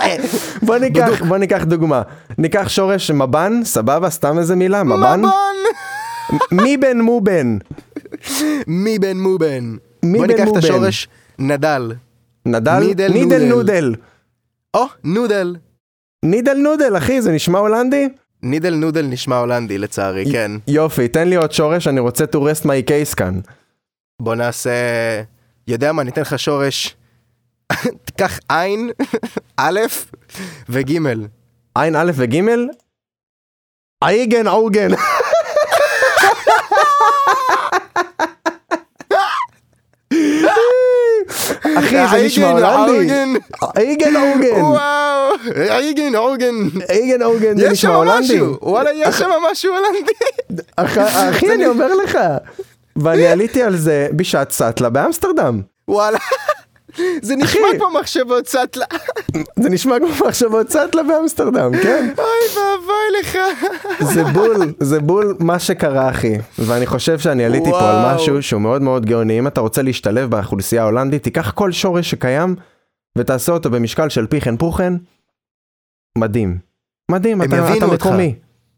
Speaker 2: אה,
Speaker 1: בוא ניקח, בוא ניקח דוגמה. ניקח שורש מבן, סבבה, סתם איזה מילה, מבן.
Speaker 2: מבן.
Speaker 1: מי בן מו בן?
Speaker 2: מי בן מובן.
Speaker 1: מי
Speaker 2: בוא
Speaker 1: בן
Speaker 2: ניקח את
Speaker 1: מובן?
Speaker 2: השורש נדל.
Speaker 1: נדל?
Speaker 2: נידל
Speaker 1: נידל
Speaker 2: נודל.
Speaker 1: נודל.
Speaker 2: או, נודל.
Speaker 1: נידל נודל, אחי, זה נשמע הולנדי?
Speaker 2: נידל נודל נשמע הולנדי לצערי, כן.
Speaker 1: יופי, תן לי עוד שורש, אני רוצה to rest my case כאן.
Speaker 2: בוא נעשה... יודע מה, ניתן לך שורש. תיקח עין, א' וג'.
Speaker 1: עין א' וג' אייגן אוגן. אחי זה נשמע
Speaker 2: עיגן,
Speaker 1: הולנדי. כן.
Speaker 2: עוגן.
Speaker 1: אייגן אוגן.
Speaker 2: וואו, אייגן עוגן.
Speaker 1: אייגן אוגן זה
Speaker 2: יש שם
Speaker 1: נשמע הולנדי.
Speaker 2: משהו, וואלה, יש שם משהו הולנדי.
Speaker 1: אח- אחי אני אומר לך. ואני עליתי על זה בשעת סאטלה באמסטרדם.
Speaker 2: וואלה. זה נשמע
Speaker 1: אחי.
Speaker 2: כמו מחשבות סאטלה.
Speaker 1: זה נשמע כמו מחשבות סאטלה באמסטרדם, כן?
Speaker 2: אוי ואבוי לך.
Speaker 1: זה בול, זה בול מה שקרה אחי. ואני חושב שאני עליתי פה על
Speaker 2: וואו.
Speaker 1: משהו שהוא מאוד מאוד גאוני. אם אתה רוצה להשתלב באוכלוסייה ההולנדית, תיקח כל שורש שקיים ותעשה אותו במשקל של פיכן פוכן. מדהים. מדהים,
Speaker 2: הם
Speaker 1: אתה,
Speaker 2: יבינו
Speaker 1: אתה
Speaker 2: אותך.
Speaker 1: מקומי.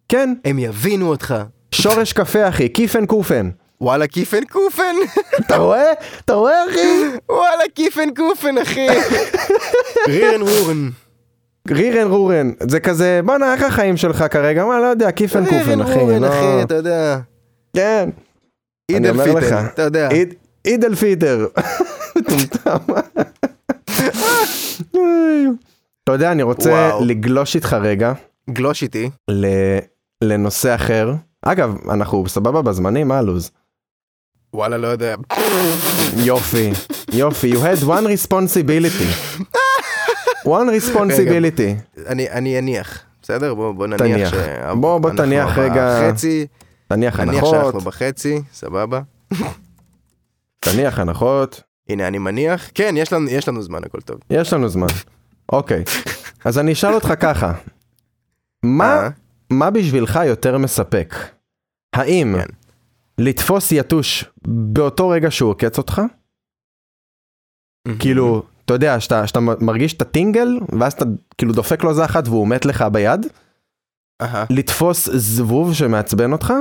Speaker 1: כן,
Speaker 2: הם יבינו אותך.
Speaker 1: שורש קפה אחי, כיפן קופן.
Speaker 2: וואלה כיפן קופן,
Speaker 1: אתה רואה? אתה רואה אחי?
Speaker 2: וואלה כיפן קופן אחי. רירן רורן.
Speaker 1: רירן רורן. זה כזה, בואנה, איך החיים שלך כרגע? מה, לא יודע, כיפן קופן אחי.
Speaker 2: רירן רורן
Speaker 1: לא-
Speaker 2: אחי, אתה יודע.
Speaker 1: כן.
Speaker 2: עיד
Speaker 1: אני
Speaker 2: אל
Speaker 1: אומר
Speaker 2: פיטר,
Speaker 1: לך.
Speaker 2: אתה יודע.
Speaker 1: עיד- עיד אל פיטר. מטומטם. אתה יודע, אני רוצה
Speaker 2: וואו.
Speaker 1: לגלוש איתך רגע
Speaker 2: גלוש איתי.
Speaker 1: ל- לנושא אחר. אגב, אנחנו סבבה בזמנים, מה הלו"ז?
Speaker 2: וואלה לא יודע.
Speaker 1: יופי, יופי, you had one responsibility. one responsibility.
Speaker 2: אני אני אניח. בסדר? בוא בוא
Speaker 1: תניח.
Speaker 2: נניח. ש-
Speaker 1: בוא- בוא
Speaker 2: אנחנו
Speaker 1: תניח רגע
Speaker 2: בחצי.
Speaker 1: תניח
Speaker 2: נניח שאנחנו
Speaker 1: הנחות,
Speaker 2: בחצי, סבבה.
Speaker 1: תניח הנחות,
Speaker 2: הנה אני מניח. כן, יש לנו- יש לנו זמן, הכל טוב.
Speaker 1: יש לנו זמן. אוקיי, אז אני אשאל אותך ככה, מה
Speaker 2: אה?
Speaker 1: מה בשבילך יותר מספק? האם
Speaker 2: כן.
Speaker 1: לתפוס יתוש באותו רגע שהוא עוקץ אותך?
Speaker 2: אה?
Speaker 1: כאילו, אתה יודע, שאתה שאתה מרגיש את הטינגל, ואז אתה כאילו דופק לו זה אחת והוא מת לך ביד?
Speaker 2: אהה.
Speaker 1: לתפוס זבוב שמעצבן אותך?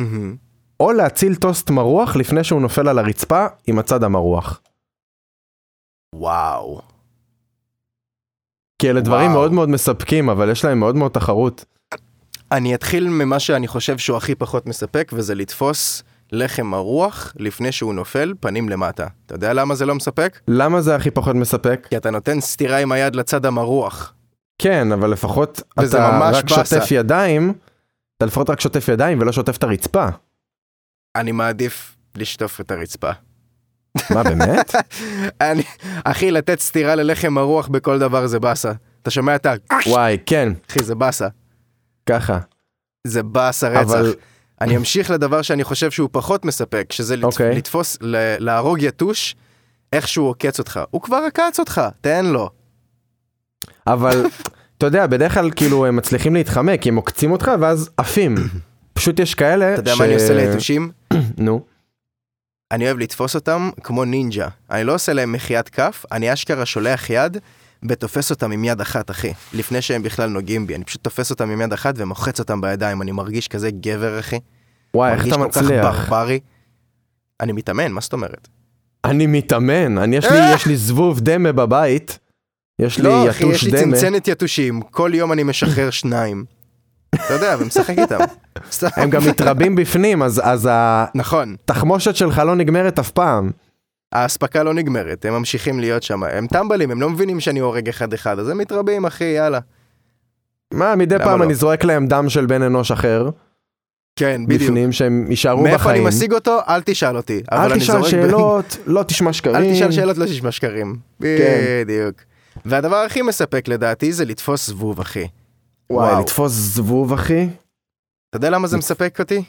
Speaker 2: מהמם.
Speaker 1: או להציל טוסט מרוח לפני שהוא נופל על הרצפה עם הצד המרוח.
Speaker 2: וואו.
Speaker 1: כי אלה דברים
Speaker 2: וואו.
Speaker 1: מאוד מאוד מספקים, אבל יש להם מאוד מאוד תחרות.
Speaker 2: אני אתחיל ממה שאני חושב שהוא הכי פחות מספק, וזה לתפוס לחם הרוח לפני שהוא נופל פנים למטה. אתה יודע למה זה לא מספק?
Speaker 1: למה זה הכי פחות מספק?
Speaker 2: כי אתה נותן סטירה עם היד לצד המרוח.
Speaker 1: כן, אבל לפחות
Speaker 2: וזה
Speaker 1: אתה
Speaker 2: ממש
Speaker 1: רק
Speaker 2: באסה.
Speaker 1: שוטף ידיים, אתה לפחות רק שוטף ידיים ולא שוטף את הרצפה.
Speaker 2: אני מעדיף לשטוף את הרצפה.
Speaker 1: מה, באמת?
Speaker 2: אני... אחי, לתת סטירה ללחם הרוח בכל דבר זה באסה. אתה שומע את ה...
Speaker 1: וואי, כן,
Speaker 2: אחי, זה באסה.
Speaker 1: ככה.
Speaker 2: זה באסה רצח.
Speaker 1: אבל
Speaker 2: אני אמשיך לדבר שאני חושב שהוא פחות מספק, שזה לת...
Speaker 1: אוקיי.
Speaker 2: לתפוס, ל... להרוג יתוש איך שהוא עוקץ אותך. הוא כבר עקץ אותך, תן לו.
Speaker 1: אבל, אתה יודע, בדרך כלל כאילו הם מצליחים להתחמק, כי הם עוקצים אותך ואז עפים. פשוט יש כאלה
Speaker 2: אתה יודע מה אני עושה ליתושים?
Speaker 1: נו.
Speaker 2: אני אוהב לתפוס אותם כמו נינג'ה. אני לא עושה להם מחיית כף, אני אשכרה שולח יד ותופס אותם עם יד אחת, אחי. לפני שהם בכלל נוגעים בי, אני פשוט תופס אותם עם יד אחת ומוחץ אותם בידיים. אני מרגיש כזה גבר, אחי.
Speaker 1: וואי, אה, איך אתה
Speaker 2: מרגיש כל כך
Speaker 1: מצליח?
Speaker 2: ברברי. אני מתאמן, מה זאת אומרת?
Speaker 1: אני מתאמן, אני יש לי, יש לי זבוב דמה בבית, יש לי
Speaker 2: לא, אחי, יש
Speaker 1: יתוש
Speaker 2: לי
Speaker 1: דמה.
Speaker 2: צנצנת יתושים, כל יום אני משחרר שניים. אתה יודע, ומשחק איתם. סתם.
Speaker 1: הם גם מתרבים בפנים, אז, אז
Speaker 2: נכון,
Speaker 1: התחמושת שלך לא נגמרת אף פעם.
Speaker 2: האספקה לא נגמרת, הם ממשיכים להיות שם, הם טמבלים, הם לא מבינים שאני הורג אחד-אחד, אז הם מתרבים, אחי, יאללה.
Speaker 1: מה, מדי
Speaker 2: למה
Speaker 1: פעם
Speaker 2: לא?
Speaker 1: אני זורק להם דם של בן אנוש אחר,
Speaker 2: כן, בדיוק.
Speaker 1: בפנים, שהם יישארו בחיים.
Speaker 2: מאיפה אני משיג אותו? אל תשאל אותי. אבל
Speaker 1: אל
Speaker 2: אני
Speaker 1: תשאל
Speaker 2: זורק ב-
Speaker 1: שאלות, לא תשמע שקרים.
Speaker 2: אל תשאל שאלות, לא תשמע שקרים.
Speaker 1: כן.
Speaker 2: בדיוק. והדבר הכי מספק לדעתי זה לתפוס זבוב, אחי.
Speaker 1: וואי,
Speaker 2: וואו.
Speaker 1: לתפוס זבוב, אחי?
Speaker 2: אתה יודע למה זה מספק אותי?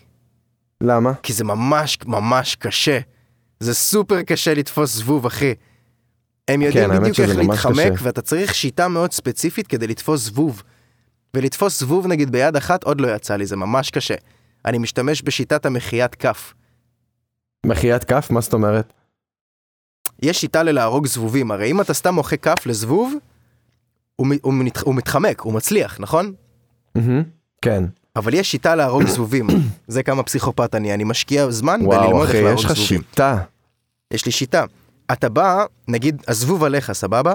Speaker 1: למה?
Speaker 2: כי זה ממש ממש קשה. זה סופר קשה לתפוס זבוב, אחי. הם יודעים
Speaker 1: כן, האמת
Speaker 2: בדיוק
Speaker 1: שזה
Speaker 2: איך
Speaker 1: ממש
Speaker 2: להתחמק,
Speaker 1: קשה.
Speaker 2: ואתה צריך שיטה מאוד ספציפית כדי לתפוס זבוב. ולתפוס זבוב נגיד ביד אחת עוד לא יצא לי, זה ממש קשה. אני משתמש בשיטת המחיית כף.
Speaker 1: מחיית כף? מה זאת אומרת?
Speaker 2: יש שיטה ללהרוג זבובים, הרי אם אתה סתם מוחא כף לזבוב, הוא, מ- הוא, מת, הוא מתחמק, הוא מצליח, נכון?
Speaker 1: מהמם. כן.
Speaker 2: אבל יש שיטה להרוג זבובים, זה כמה פסיכופת אני, אני משקיע זמן
Speaker 1: וואו,
Speaker 2: בללמוד
Speaker 1: אחי,
Speaker 2: איך להרוג
Speaker 1: יש לך
Speaker 2: זבובים.
Speaker 1: שיטה.
Speaker 2: יש לי שיטה. אתה בא, נגיד, הזבוב עליך, סבבה?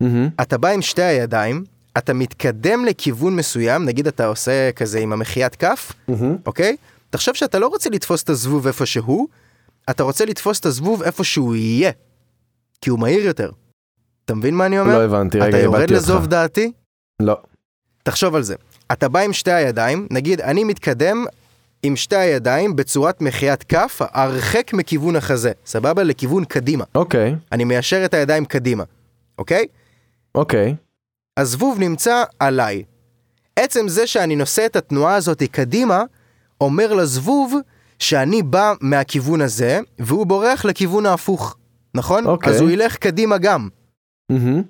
Speaker 1: מהמם.
Speaker 2: אתה בא עם שתי הידיים, אתה מתקדם לכיוון מסוים, נגיד אתה עושה כזה עם המחיית כף,
Speaker 1: מהמם.
Speaker 2: אוקיי? תחשוב שאתה לא רוצה לתפוס את הזבוב איפה שהוא, אתה רוצה לתפוס את הזבוב איפה שהוא יהיה, כי הוא מהיר יותר. אתה מבין מה אני אומר?
Speaker 1: לא הבנתי, רגע,
Speaker 2: אתה יורד
Speaker 1: איבדתי
Speaker 2: לזוב
Speaker 1: אותך.
Speaker 2: דעתי?
Speaker 1: לא.
Speaker 2: תחשוב על זה. אתה בא עם שתי הידיים, נגיד אני מתקדם עם שתי הידיים בצורת מחיית כף הרחק מכיוון החזה, סבבה? לכיוון קדימה.
Speaker 1: אוקיי,
Speaker 2: אני מיישר את הידיים קדימה, אוקיי?
Speaker 1: אוקיי.
Speaker 2: הזבוב נמצא עליי. עצם זה שאני נושא את התנועה הזאת קדימה, אומר לזבוב שאני בא מהכיוון הזה, והוא בורח לכיוון ההפוך, נכון?
Speaker 1: אוקיי.
Speaker 2: אז הוא ילך קדימה גם.
Speaker 1: מהמם.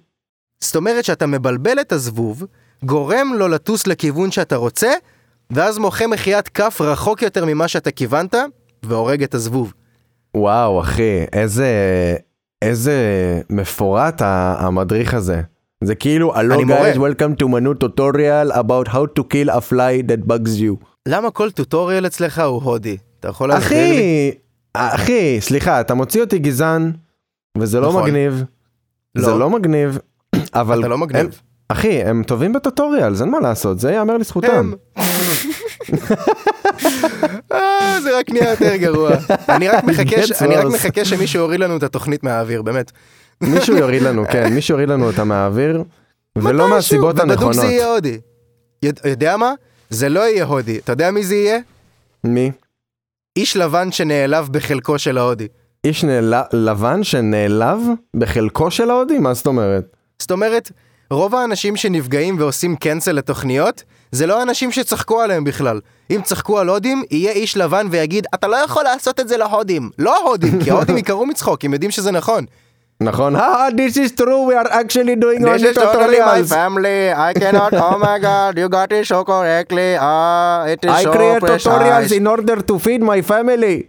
Speaker 2: זאת אומרת שאתה מבלבל את הזבוב, גורם לו לטוס לכיוון שאתה רוצה, ואז מוחה מחיית כף רחוק יותר ממה שאתה כיוונת, והורג את הזבוב.
Speaker 1: וואו, אחי, איזה... איזה מפורט ה- המדריך הזה. זה כאילו, הלו
Speaker 2: אני מורה."
Speaker 1: guys, welcome to מנו tutorial about how to kill a fly that bugs you.
Speaker 2: למה כל טוטוריאל אצלך הוא הודי? אתה יכול להסביר לי?
Speaker 1: אחי, אחי, סליחה, אתה מוציא אותי גזען, וזה לא
Speaker 2: נכון.
Speaker 1: מגניב. זה
Speaker 2: לא.
Speaker 1: לא מגניב, אבל...
Speaker 2: אתה לא
Speaker 1: הם-
Speaker 2: מגניב.
Speaker 1: אחי, הם טובים בטוטוריאלס, אין מה לעשות, זה ייאמר לזכותם.
Speaker 2: הם. אה, זה רק נהיה יותר גרוע. אני רק מחכה ש-
Speaker 1: Gets
Speaker 2: אני רק
Speaker 1: worse.
Speaker 2: מחכה שמישהו יוריד לנו את התוכנית מהאוויר, באמת.
Speaker 1: מישהו יוריד לנו, כן, מישהו יוריד לנו אותה מהאוויר, ולא מהסיבות
Speaker 2: ובדוק
Speaker 1: הנכונות.
Speaker 2: זה יהיה הודי. יודע- יודע מה? זה לא יהיה הודי. אתה יודע מי זה יהיה?
Speaker 1: מי?
Speaker 2: איש לבן שנעלב בחלקו של ההודי.
Speaker 1: איש נעל- לבן שנעלב בחלקו של ההודי? מה זאת אומרת?
Speaker 2: זאת אומרת, רוב האנשים שנפגעים ועושים קנצל לתוכניות, זה לא האנשים שצחקו עליהם בכלל. אם צחקו על הודים, יהיה איש לבן ויגיד, אתה לא יכול לעשות את זה להודים. לא ההודים, כי ההודים יקראו מצחוק, הם יודעים שזה נכון.
Speaker 1: נכון? "Ah, This is true, we are actually doing
Speaker 2: This
Speaker 1: only
Speaker 2: is totally my
Speaker 1: tutorials.
Speaker 2: family. I cannot. Oh my god, you got it so correctly. Ah, it is
Speaker 1: I
Speaker 2: so
Speaker 1: create
Speaker 2: precise.
Speaker 1: tutorials in order to feed my family.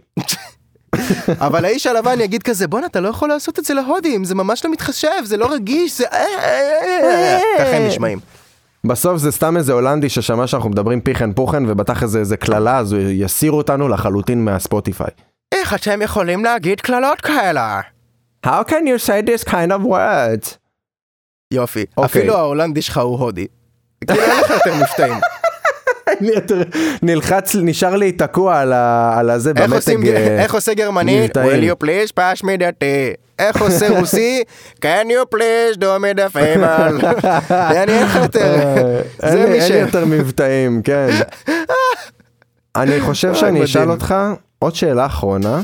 Speaker 2: אבל האיש הלבן יגיד כזה, בואנה, אתה לא יכול לעשות את זה להודים, זה ממש לא מתחשב, זה לא רגיש, זה... אה, אה, אה." ככה הם נשמעים.
Speaker 1: בסוף זה סתם איזה הולנדי ששמע שאנחנו מדברים פיכן פוכן ובטח איזה איזה קללה אז הוא יסיר אותנו לחלוטין מהספוטיפיי.
Speaker 2: איך אתם יכולים להגיד קללות כאלה?
Speaker 1: How can you say this kind of words?
Speaker 2: יופי.
Speaker 1: אוקיי.
Speaker 2: אפילו ההולנדי שלך הוא הודי. כאילו אין לך יותר מבטאים.
Speaker 1: אני יותר- נלחץ, נשאר לי תקוע על ה- על הזה
Speaker 2: איך עושים-
Speaker 1: במתג. אה,
Speaker 2: איך עושה גרמני?
Speaker 1: מבטאים.
Speaker 2: will you please pass me the tea? איך עושה רוסי? can you please do me the favor? אני אין לך יותר.
Speaker 1: אה,
Speaker 2: זה
Speaker 1: אין לי-
Speaker 2: מי
Speaker 1: אין
Speaker 2: ש...
Speaker 1: לי יותר מבטאים, כן. אני חושב שאני
Speaker 2: מדהים.
Speaker 1: אשאל אותך עוד שאלה אחרונה,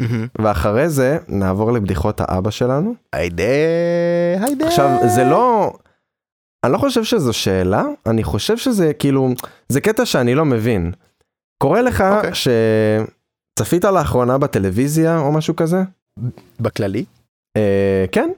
Speaker 2: מהמם.
Speaker 1: ואחרי זה נעבור לבדיחות האבא שלנו.
Speaker 2: היידה, היידה.
Speaker 1: עכשיו, זה לא... אני לא חושב שזו שאלה, אני חושב שזה כאילו... זה קטע שאני לא מבין. קורה לך
Speaker 2: אוקיי.
Speaker 1: שצפית לאחרונה בטלוויזיה או משהו כזה?
Speaker 2: בכללי?
Speaker 1: אה, כן?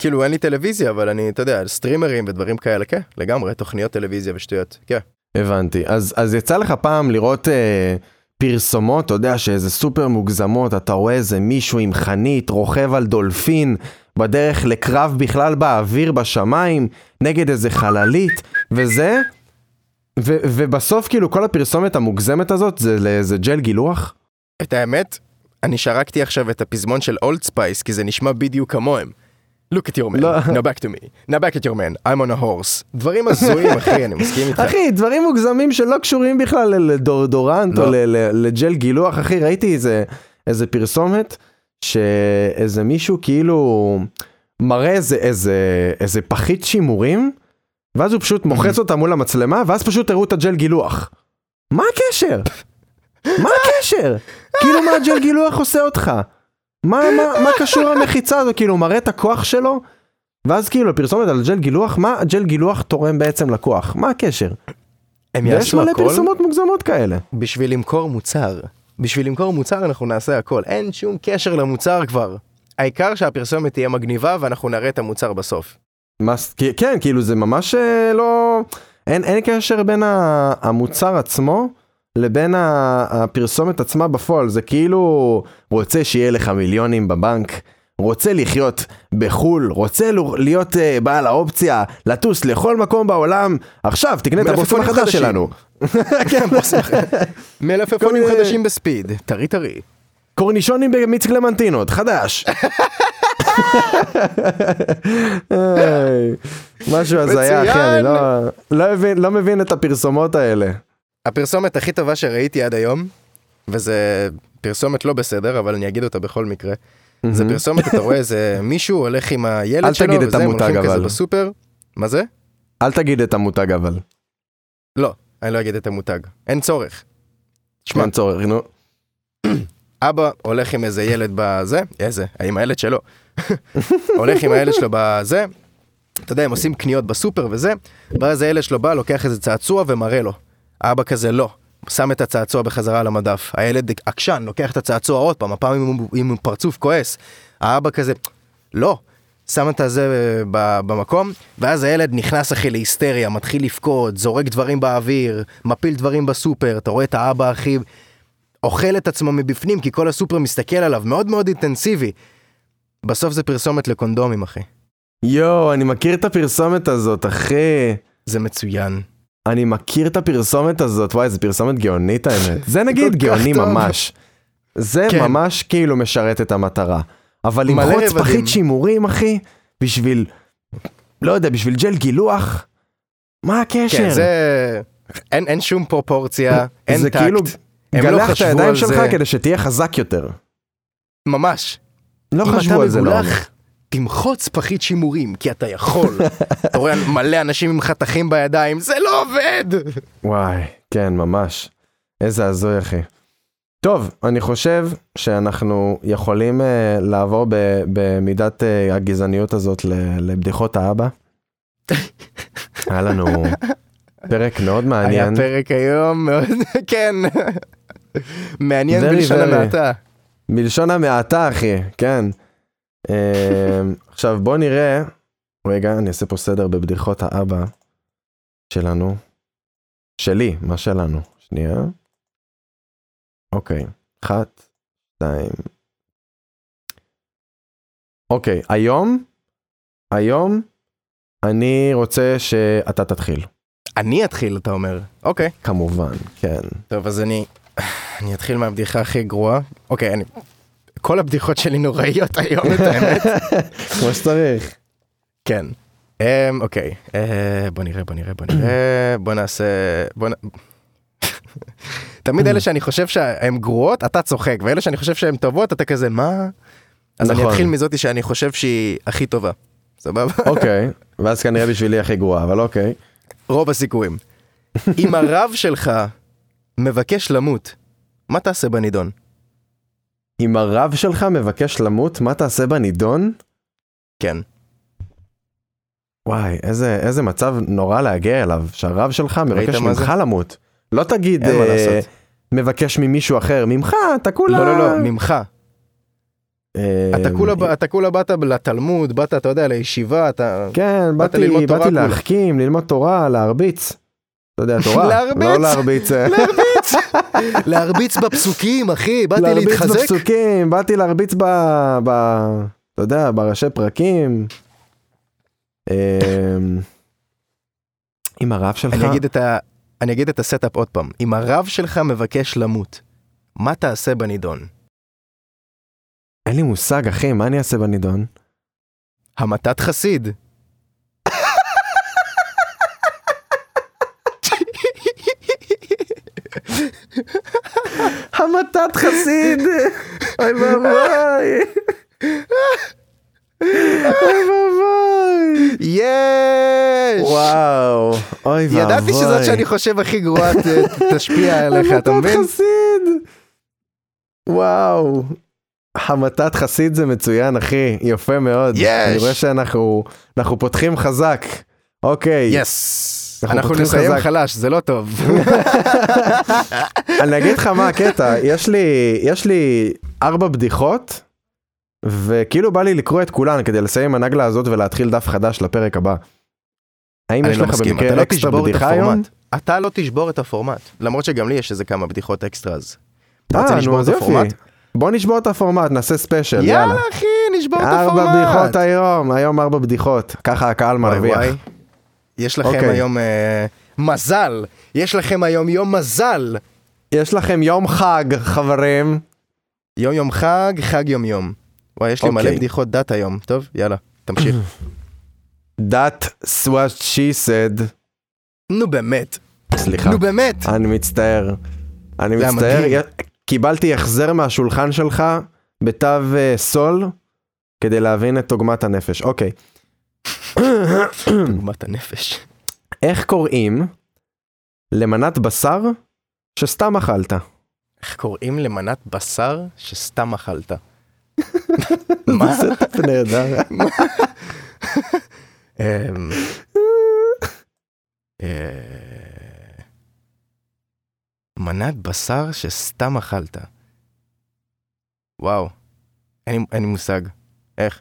Speaker 2: כאילו אין לי טלוויזיה, אבל אני, אתה יודע, סטרימרים ודברים כאלה, כן, לגמרי, תוכניות טלוויזיה ושטויות, כן.
Speaker 1: הבנתי. אז, אז יצא לך פעם לראות אה, פרסומות, אתה יודע, שאיזה סופר מוגזמות, אתה רואה איזה מישהו עם חנית רוכב על דולפין, בדרך לקרב בכלל באוויר, בשמיים, נגד איזה חללית, וזה... ו- ובסוף כאילו כל הפרסומת המוגזמת הזאת זה לאיזה ג'ל גילוח?
Speaker 2: את האמת, אני שרקתי עכשיו את הפזמון של אולד ספייס, כי זה נשמע בדיוק כמוהם. Look at your man,
Speaker 1: לא.
Speaker 2: now back to me, now back at your man, I'm on a horse. דברים הזויים, אחי, אני מסכים איתך.
Speaker 1: אחי, דברים מוגזמים שלא קשורים בכלל ל- לדורדורנט
Speaker 2: לא.
Speaker 1: או ל- ל- לג'ל גילוח, אחי, ראיתי איזה, איזה פרסומת, שאיזה מישהו כאילו מראה איזה, איזה, איזה פחית שימורים, ואז הוא פשוט מוחץ אותה מול המצלמה, ואז פשוט הראו את הג'ל גילוח. מה הקשר? מה הקשר? כאילו מה הג'ל גילוח עושה אותך? מה, מה, מה קשור המחיצה הזו? כאילו הוא מראה את הכוח שלו? ואז כאילו הפרסומת על ג'ל גילוח, מה ג'ל גילוח תורם בעצם לכוח? מה הקשר?
Speaker 2: הם
Speaker 1: ויש
Speaker 2: יעשו
Speaker 1: מלא
Speaker 2: הכל
Speaker 1: פרסומות מוגזמות כאלה.
Speaker 2: בשביל למכור מוצר. בשביל למכור מוצר אנחנו נעשה הכל, אין שום קשר למוצר כבר. העיקר שהפרסומת תהיה מגניבה ואנחנו נראה את המוצר בסוף.
Speaker 1: מה, ס- כי- כן, כאילו זה ממש אה, לא... אין, אין קשר בין ה- המוצר עצמו לבין ה- הפרסומת עצמה בפועל. זה כאילו רוצה שיהיה לך מיליונים בבנק, רוצה לחיות בחו"ל, רוצה לו- להיות אה, בעל האופציה לטוס לכל מקום בעולם, עכשיו תקנה את הבוסים
Speaker 2: מלפפונים
Speaker 1: החדש
Speaker 2: חדשים.
Speaker 1: שלנו.
Speaker 2: כן, בוא סליחה. מלפפונים
Speaker 1: כל מיני-
Speaker 2: חדשים בספיד, טרי טרי.
Speaker 1: קורנישונים במיץ קלמנטינות, חדש. היי, משהו הזיה אחי, אני לא- לא מבין- לא מבין את הפרסומות האלה.
Speaker 2: הפרסומת הכי טובה שראיתי עד היום, וזה פרסומת לא בסדר, אבל אני אגיד אותה בכל מקרה. זה Mm-hmm. פרסומת, אתה רואה איזה מישהו הולך עם
Speaker 1: אל
Speaker 2: הילד שלו,
Speaker 1: תגיד את
Speaker 2: וזה, הם
Speaker 1: המותג,
Speaker 2: הולכים כזה
Speaker 1: אבל.
Speaker 2: בסופר. מה זה?
Speaker 1: אל תגיד את המותג אבל,
Speaker 2: לא, אני לא אגיד את המותג. אין צורך. שמע,
Speaker 1: אין צורך, נו.
Speaker 2: אבא הולך עם איזה ילד בזה, איזה, עם הילד שלו. הולך עם הילד שלו בזה, אתה יודע, הם עושים קניות בסופר וזה, ואז הילד שלו בא, לוקח איזה צעצוע ומראה לו. אבא כזה לא, שם את הצעצוע בחזרה על המדף. הילד עקשן, לוקח את הצעצוע עוד פעם, הפעם עם, עם פרצוף כועס. האבא כזה, לא. שם את הזה אה, ב- במקום, ואז הילד נכנס אחי להיסטריה, מתחיל לבכות, זורק דברים באוויר, מפיל דברים בסופר, אתה רואה את האבא אחי אוכל את עצמו מבפנים, כי כל הסופר מסתכל עליו, מאוד מאוד אינטנסיבי. בסוף זה פרסומת לקונדומים, אחי.
Speaker 1: יואו, אני מכיר את הפרסומת הזאת, אחי.
Speaker 2: זה מצוין.
Speaker 1: אני מכיר את הפרסומת הזאת, וואי, זו פרסומת גאונית האמת. זה נגיד
Speaker 2: כל כך
Speaker 1: גאוני
Speaker 2: טוב.
Speaker 1: ממש. זה
Speaker 2: כן.
Speaker 1: ממש כאילו משרת את המטרה. אבל עם
Speaker 2: מלא
Speaker 1: חוץ
Speaker 2: רבדים.
Speaker 1: פחית שימורים, אחי, בשביל, לא יודע, בשביל ג'ל גילוח, מה הקשר?
Speaker 2: כן, זה... אין, אין שום פרופורציה, אין
Speaker 1: זה
Speaker 2: טקט.
Speaker 1: כאילו
Speaker 2: הם לא
Speaker 1: גלח את
Speaker 2: חשבו
Speaker 1: הידיים
Speaker 2: על
Speaker 1: שלך
Speaker 2: זה.
Speaker 1: כדי שתהיה חזק יותר.
Speaker 2: ממש.
Speaker 1: לא חשבו על זה
Speaker 2: אם אתה
Speaker 1: לעומק.
Speaker 2: מגולח, תמחוץ פחית שימורים, כי אתה יכול. אתה רואה מלא אנשים עם חתכים בידיים, זה לא עובד!
Speaker 1: וואי, כן, ממש. איזה הזוי, אחי. טוב, אני חושב שאנחנו יכולים אה, לעבור ב- במידת אה, הגזעניות הזאת ל- לבדיחות האבא. היה לנו פרק מאוד
Speaker 2: היה
Speaker 1: מעניין.
Speaker 2: פרק היום מאוד, כן. מעניין
Speaker 1: Very,
Speaker 2: בלשון
Speaker 1: very.
Speaker 2: המעטה.
Speaker 1: בלשון המעטה, אחי, כן. אה, עכשיו, בוא נראה. רגע, אני אעשה פה סדר בבדיחות האבא שלנו. שלי, מה שלנו? שנייה. אוקיי, אחת, שתיים. אוקיי, היום, היום, אני רוצה שאתה תתחיל.
Speaker 2: אני אתחיל, אתה אומר. אוקיי.
Speaker 1: כמובן, כן.
Speaker 2: טוב, אז אני... אני אתחיל מהבדיחה הכי גרועה. אוקיי, אני... כל הבדיחות שלי נוראיות היום, את האמת.
Speaker 1: כמו שצריך.
Speaker 2: כן. אמ, אוקיי, אה, בוא נראה, בוא נראה, בוא נראה, בוא נעשה... בוא נ... תמיד אלה שאני חושב שהן גרועות, אתה צוחק, ואלה שאני חושב שהן טובות, אתה כזה, מה? אז אני
Speaker 1: נכון.
Speaker 2: אתחיל מזאתי שאני חושב שהיא הכי טובה, סבבה?
Speaker 1: אוקיי, ואז כנראה בשבילי הכי גרועה, אבל אוקיי.
Speaker 2: רוב הסיכויים. אם הרב שלך מבקש למות, מה תעשה בנידון?
Speaker 1: אם הרב שלך מבקש למות, מה תעשה בנידון?
Speaker 2: כן.
Speaker 1: וואי, איזה, איזה מצב נורא להגיע אליו, שהרב שלך מבקש
Speaker 2: מה זה?
Speaker 1: ממך למות. לא תגיד,
Speaker 2: אין מה
Speaker 1: אה,
Speaker 2: לעשות.
Speaker 1: מבקש ממישהו אחר, ממך, אתה כולה...
Speaker 2: לא, לא, לא, ממך.
Speaker 1: אה,
Speaker 2: אתה כולה ב- אתה כולה באת לתלמוד, באת, אתה יודע, לישיבה, אתה...
Speaker 1: כן,
Speaker 2: באת
Speaker 1: באתי,
Speaker 2: ללמוד תורה
Speaker 1: באתי
Speaker 2: כולה.
Speaker 1: להחכים, ללמוד תורה, להרביץ. אתה יודע, תורה.
Speaker 2: להרביץ?
Speaker 1: לא להרביץ. אה,
Speaker 2: להרביץ בפסוקים, אחי, באתי
Speaker 1: להרביץ
Speaker 2: להתחזק.
Speaker 1: בפסוקים, באתי להרביץ ב... ב... אתה יודע, בראשי פרקים. אה, אם הרב שלך...
Speaker 2: אני אגיד את ה... אני אגיד את הסטאפ עוד פעם. אם הרב שלך מבקש למות, מה תעשה בנידון?
Speaker 1: אין לי מושג, אחי, מה אני אעשה בנידון?
Speaker 2: המתת חסיד.
Speaker 1: המתת חסיד! אוי ואבוי! אוי ואבוי!
Speaker 2: יש!
Speaker 1: וואו, אוי ואבוי.
Speaker 2: ידעתי שזאת שאני חושב הכי גרועה ת- תשפיע עליך, אתה מבין?
Speaker 1: המתת חסיד! וואו. המתת חסיד זה מצוין, אחי. יפה מאוד.
Speaker 2: יש!
Speaker 1: אני רואה שאנחנו אנחנו פותחים חזק. אוקיי.
Speaker 2: יס!
Speaker 1: אנחנו
Speaker 2: אנחנו
Speaker 1: פותחים
Speaker 2: נסיים
Speaker 1: חזק.
Speaker 2: חלש, זה לא טוב.
Speaker 1: אני אגיד לך מה הקטע, יש לי, יש לי ארבע בדיחות, וכאילו בא לי לקרוא את כולן כדי לסיים עם הנגלה הזאת ולהתחיל דף חדש לפרק הבא. האם
Speaker 2: אני
Speaker 1: יש
Speaker 2: לא
Speaker 1: לך
Speaker 2: מסכים, אתה
Speaker 1: במקרה
Speaker 2: לא
Speaker 1: אקסטרה
Speaker 2: תשבור את
Speaker 1: בדיחה היום?
Speaker 2: הפורמט. אתה לא תשבור את הפורמט. למרות שגם לי יש איזה כמה בדיחות אקסטרה אז. אתה רוצה
Speaker 1: אה,
Speaker 2: לשבור
Speaker 1: נו,
Speaker 2: את
Speaker 1: אז יופי.
Speaker 2: הפורמט?
Speaker 1: בוא נשבור את הפורמט, נעשה ספיישל, יאללה.
Speaker 2: יאללה אחי, נשבור את הפורמט.
Speaker 1: ארבע בדיחות היום, היום ארבע בדיחות. ככה הקהל
Speaker 2: וואי,
Speaker 1: מרוויח.
Speaker 2: וואי. יש לכם
Speaker 1: אוקיי.
Speaker 2: היום אה, מזל, יש לכם היום יום מזל.
Speaker 1: יש לכם יום חג, חברים.
Speaker 2: יום יום חג, חג יום יום. וואי, יש לי מלא
Speaker 1: אוקיי.
Speaker 2: בדיחות דת היום, טוב? יאללה, תמשיך.
Speaker 1: That was she said.
Speaker 2: נו באמת,
Speaker 1: סליחה.
Speaker 2: נו באמת.
Speaker 1: אני מצטער. אני
Speaker 2: זה היה
Speaker 1: מצטער.
Speaker 2: מדהים.
Speaker 1: י- קיבלתי החזר מהשולחן שלך בתו אה, סול כדי להבין את עוגמת הנפש. אוקיי.
Speaker 2: דוגמת הנפש.
Speaker 1: איך קוראים למנת בשר שסתם אכלת?
Speaker 2: איך קוראים למנת בשר שסתם אכלת? מה?
Speaker 1: זה נהדר.
Speaker 2: אמ, אה, מנת בשר שסתם אכלת. וואו, אין לי- אין לי מושג. איך?